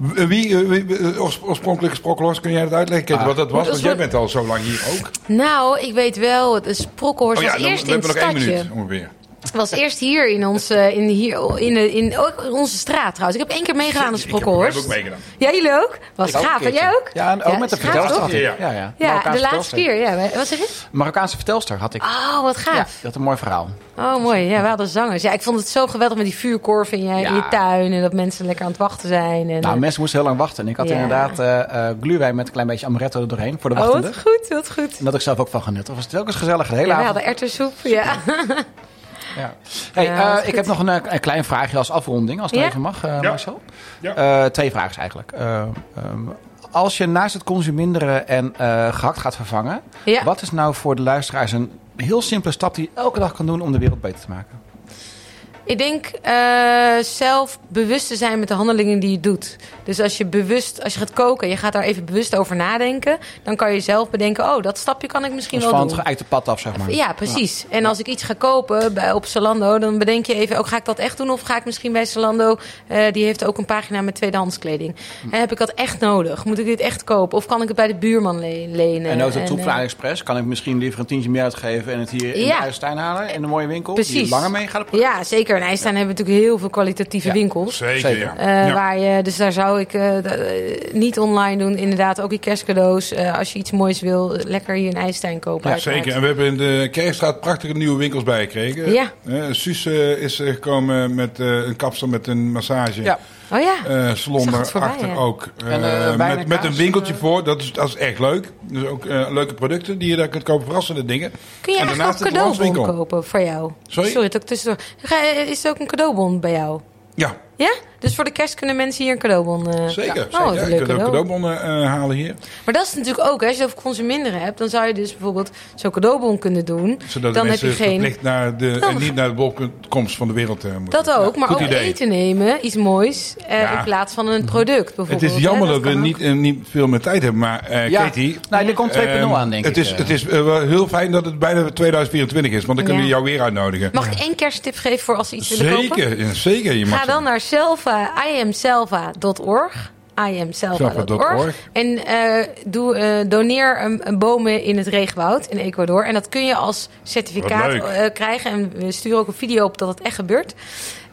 Wie, eh, wie, eh, oors- oorspronkelijke Sprokkelhorst, kun jij dat uitleggen Kate,
Ah.
wat dat was?
Dat
Want
is
jij
wat-
bent al zo lang hier ook. Oh
Nou, ik weet wel, het is Sprokkelhorst was
dan,
eerst
we
in
hebben
het
nog één
stadje.
minuut ongeveer.
was eerst hier in, ons, eh, in, hier, in, de- in, ook in onze straat trouwens. Ik heb één keer meegedaan aan
Ik heb- Ik
Sprokkelhorst.
heb ook meegedaan.
Ja, jullie ook? Was
Ook een
gaaf. En
keertje.
jij ook?
Ja, en ook met de
is gaaf, toch?
vertelster. had ik.
Ja, ja.
Ja, de
Marokkaanse
laatste
vertelster.
keer. Ja. Wat zeg je?
Marokkaanse vertelster had ik.
Oh, wat
Ja,
gaaf.
dat is een mooi verhaal. Nou,
Oh, mooi. Ja, we hadden zangers. Ja, ik vond het zo geweldig met die vuurkorf in je, in je
Ja.
tuin. En dat mensen lekker aan het wachten zijn. En, eh.
Nou, mensen moesten heel lang wachten. En ik had
Ja.
inderdaad eh eh gluwijn met een klein beetje amaretto er doorheen voor de
oh,
wachtende.
wat goed, wat goed.
En dat had ik zelf ook van genut. Dat was telkens gezellig. De hele
Ja, we
avond.
hadden erwtensoep. Ja. <laughs>
Ja. Hey,
Ja,
eh,
wat
ik
goed.
heb nog een, eh, een klein vraagje als afronding, als het
Ja?
even mag, eh,
Ja.
Marcel.
Ja.
Eh, twee vragen eigenlijk. Eh, ehm, als je naast het consuminderen en eh, gehakt gaat vervangen,
Ja.
wat is nou voor de luisteraars een heel simpele stap die je elke dag kan doen om de wereld beter te maken?
Ik denk eh, zelf bewust te zijn met de handelingen die je doet. Dus als je bewust, als je gaat koken, je gaat daar even bewust over nadenken. Dan kan je zelf bedenken, oh, dat stapje kan ik misschien
Dus
wel
van
doen.
het geëikte pad af, zeg maar.
Ja, precies. En als ik iets ga kopen bij, op Zalando, dan bedenk je even... ook ga ik dat echt doen of ga ik misschien bij Zalando... eh, die heeft ook een pagina met tweedehands kleding. En heb ik dat echt nodig? Moet ik dit echt kopen? Of kan ik het bij de buurman le- lenen?
En ook de troep
eh,
van AliExpress kan ik misschien liever een tientje meer uitgeven en het hier in
Ja.
de huistuin halen in een mooie winkel. Die
Precies.
langer mee gaat.
eh, ja, zeker. In IJsselstein hebben we natuurlijk heel veel kwalitatieve
Ja.
winkels.
Zeker,
Zeker.
ja.
Eh,
Ja.
waar je, dus daar zou ik eh, d- eh, niet online doen. Inderdaad, ook die kerstcadeaus. eh, als je iets moois wil, eh, lekker hier in IJsselstein kopen.
Ja,
uiteraard.
zeker. En we hebben in de Kerkstraat prachtige nieuwe winkels bijgekregen.
Ja.
Eh, Suus eh, is eh, gekomen met eh, een kapsel met een massage.
Ja.
Oh ja,
eh
Ik
salon
zag het voorbij,
daarachter
ja.
ook. Eh,
En, eh, wijn en
met, met een
kaas,
winkeltje
eh.
voor. Dat is, dat is echt leuk. Dus ook eh, leuke producten die je daar kunt kopen. Verrassende dingen.
kun je
en
eigenlijk
daarnaast
ook een
het
cadeaubon
landwinkel.
kopen voor jou?
Sorry?
Sorry, dat ik tussendoor. Ga- eh, Is er ook een cadeaubon bij jou?
Ja,
Ja? Dus voor de kerst kunnen mensen hier een cadeaubon... eh,
zeker.
Ja. Oh, wat
zeker.
een
je
leuk
kunt ook
cadeau.
cadeaubonnen eh, halen hier.
Maar dat is natuurlijk ook, hè, als je het over consuminderen hebt... dan zou je dus bijvoorbeeld zo'n cadeaubon kunnen doen.
Zodat
dan
de
heb
mensen dus
je geen...
verplicht naar de,
Dan
en niet naar de bolkomst van de wereld eh, moeten.
Dat ook, maar
Goed
ook
idee.
eten nemen, iets moois... eh,
Ja.
in plaats van een product bijvoorbeeld.
Het is
hè,
jammer dat we
kan ook.
niet, eh, niet veel meer tijd hebben. Maar eh
Ja.
Katie, ehm,
Nou, dit komt 2.0 aan, denk
het
ik.
is,
eh.
het is eh, wel heel fijn dat het bijna 2024 is, want dan kunnen
Ja.
we jou weer uitnodigen.
Mag ik één kersttip geven voor als ze iets willen kopen?
zeker, ja, zeker. Je mag
Ga dan naar selva, iamselva.org.
Selva.org.
iamselva.org. En eh, doe, eh, doneer een, een bomen in het regenwoud in Ecuador. En dat kun je als certificaat
Wat leuk.
eh, krijgen. En we sturen ook een video op dat het echt gebeurt.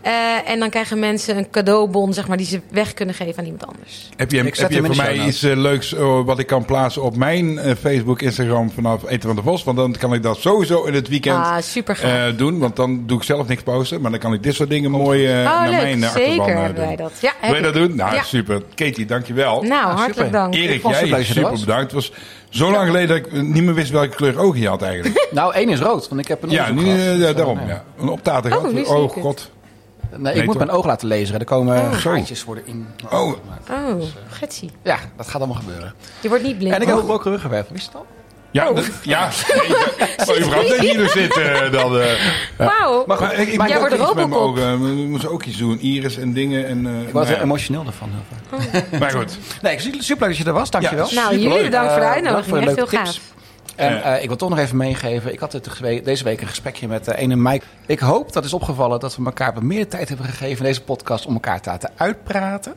Eh, en dan krijgen mensen een cadeaubon zeg maar, die ze weg kunnen geven aan iemand anders.
Heb je,
Ik zet
heb je
hem in
voor
de
mij
show notes.
iets eh, leuks eh, wat ik kan plaatsen op mijn eh, Facebook, Instagram vanaf Eten van de Vos? Want dan kan ik dat sowieso in het weekend
Ah, super gaaf.
eh, doen. Want dan doe ik zelf niks posten. Maar dan kan ik dit soort dingen mooi eh,
oh,
naar
leuk.
mijn eh, achterban
Zeker
eh,
hebben
doen.
wij dat. Ja,
Wil
heb
je dat
ik.
doen? Nou, Ah,
Ja.
super. Katie, dankjewel.
Nou, hartelijk
super.
dank.
Ik
Erik,
vond het
jij
een plezier,
super
Bas.
bedankt. Het was zo lang geleden dat ik eh, niet meer wist welke kleur oog je
<laughs>
had eigenlijk.
Nou, één is rood, want ik heb een
ja,
onderzoek
nu,
gehad.
eh,
Dus, eh,
daarom.
nee.
Ja. Een optater gehad.
nu zie
Oh,
ik het.
god.
Nee, ik
Nee,
moet
toch?
mijn oog laten lezen. Er komen
Oh.
gaatjes worden in.
Oh.
Oh, getsie.
Ja, dat gaat allemaal gebeuren.
Je wordt niet blind.
En ik heb
Oh.
ook gebroken ruggenwerf. Wist je het al?
Ja, dat-
<laughs>
ja. Nee, ja. Oh, überhaupt dat je hier dus zit. eh, dan, eh.
Wauw.
Maar goed,
Maar ik, ik
Maar
moet
jij
ook
wordt
iets met mijn
Robocop.
ogen. eh, We moeten ook iets doen. Iris en dingen. En, eh,
Ik word er
nou ja.
emotioneel ervan. heel vaak.
Maar goed.
Nee, super leuk dat je er was. Dankjewel.
Ja,
Nou,
Superleuk.
jullie bedankt voor de
Eh,
uitnodiging.
bedankt
Echt
voor de
heel
leuke
gaaf.
tips. En
Ja.
eh, ik wil toch nog even meegeven. Ik had dit gewe- deze week een gesprekje met eh, ene Mike. Ik hoop dat is opgevallen dat we elkaar meer tijd hebben gegeven in deze podcast om elkaar te laten uitpraten.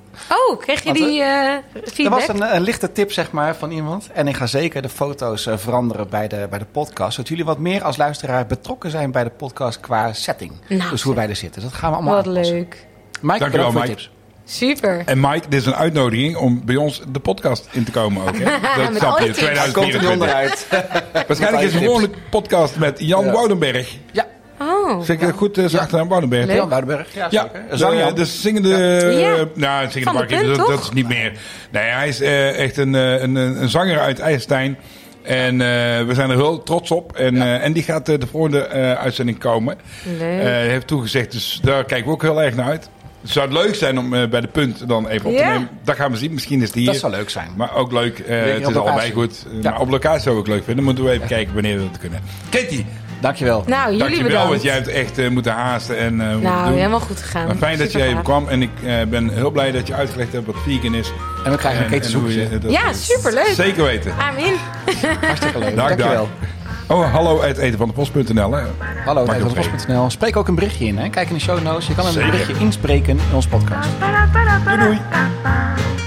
Oh, kreeg je
Want,
die eh,
Er was
feedback?
een, een lichte tip zeg maar, van iemand. En ik ga zeker de foto's eh, veranderen bij de, bij de podcast. Zodat jullie wat meer als luisteraar betrokken zijn bij de podcast qua setting.
Nou,
dus hoe wij er zitten. Dat gaan we allemaal
Wat
aanpassen.
leuk.
Mike,
Dankjewel,
bedankt voor de
Mike.
tips.
Super.
En Mike, dit is een uitnodiging om bij ons de podcast in te komen ook. Hè? Dat
Met
snap
al
je.
je tips.
Hij komt er niet <laughs>
2024.
onderuit.
Waarschijnlijk is het
Tips.
gewoon een podcast met Jan
Ja.
Woudenberg.
Ja,
Oh.
Zeg ik dat goed, uh, achternaam Woudenberg?
Jan Woudenberg. Ja, dus-
Ja,
zeker.
de,
Zang Jan.
de zingende...
Ja.
eh, Nou, zingende
Van de
bakje,
Punt,
dat, dat
toch?
is niet meer. Nee, hij is eh, echt een, eh, een, een, een zanger uit IJsselstein. En eh, we zijn er heel trots op. En, eh, en die gaat eh, de volgende eh, uitzending komen.
Leuk.
Eh, heeft toegezegd, dus daar kijken we ook heel erg naar uit. Het zou leuk zijn om eh, bij de punt dan even op te
Ja.
nemen. Dat gaan we zien. Misschien is die hier.
Dat zou leuk zijn.
Maar ook leuk. eh, het
op
is
locatie.
allebei goed. Eh,
Ja.
Maar op locatie zou ik leuk vinden. Moeten we even kijken wanneer we dat kunnen. Katie,
Dankjewel.
Nou, jullie
dankjewel.
bedankt.
Want jij hebt echt eh, moeten haasten. En, eh, moeten
Nou,
doen.
helemaal goed gegaan.
Maar fijn dat
Super
jij even
gaaf.
kwam en ik eh, ben heel blij dat je uitgelegd hebt wat vegan is.
en we krijgen een
en,
keten
hoe je
zoeken.
dat
Ja,
doet.
superleuk.
Zeker weten.
Amen.
<laughs> Hartstikke leuk.
Dag, dag.
Dankjewel.
Oh, hallo uit etenvandepost.nl. hè.
Hallo,
Mag ik nog
Nederlandspost.nl. Spreek ook een berichtje in. Hè? Kijk in de show notes. Je kan een
Zeker.
berichtje inspreken in ons podcast.
Doei doei.
Bye.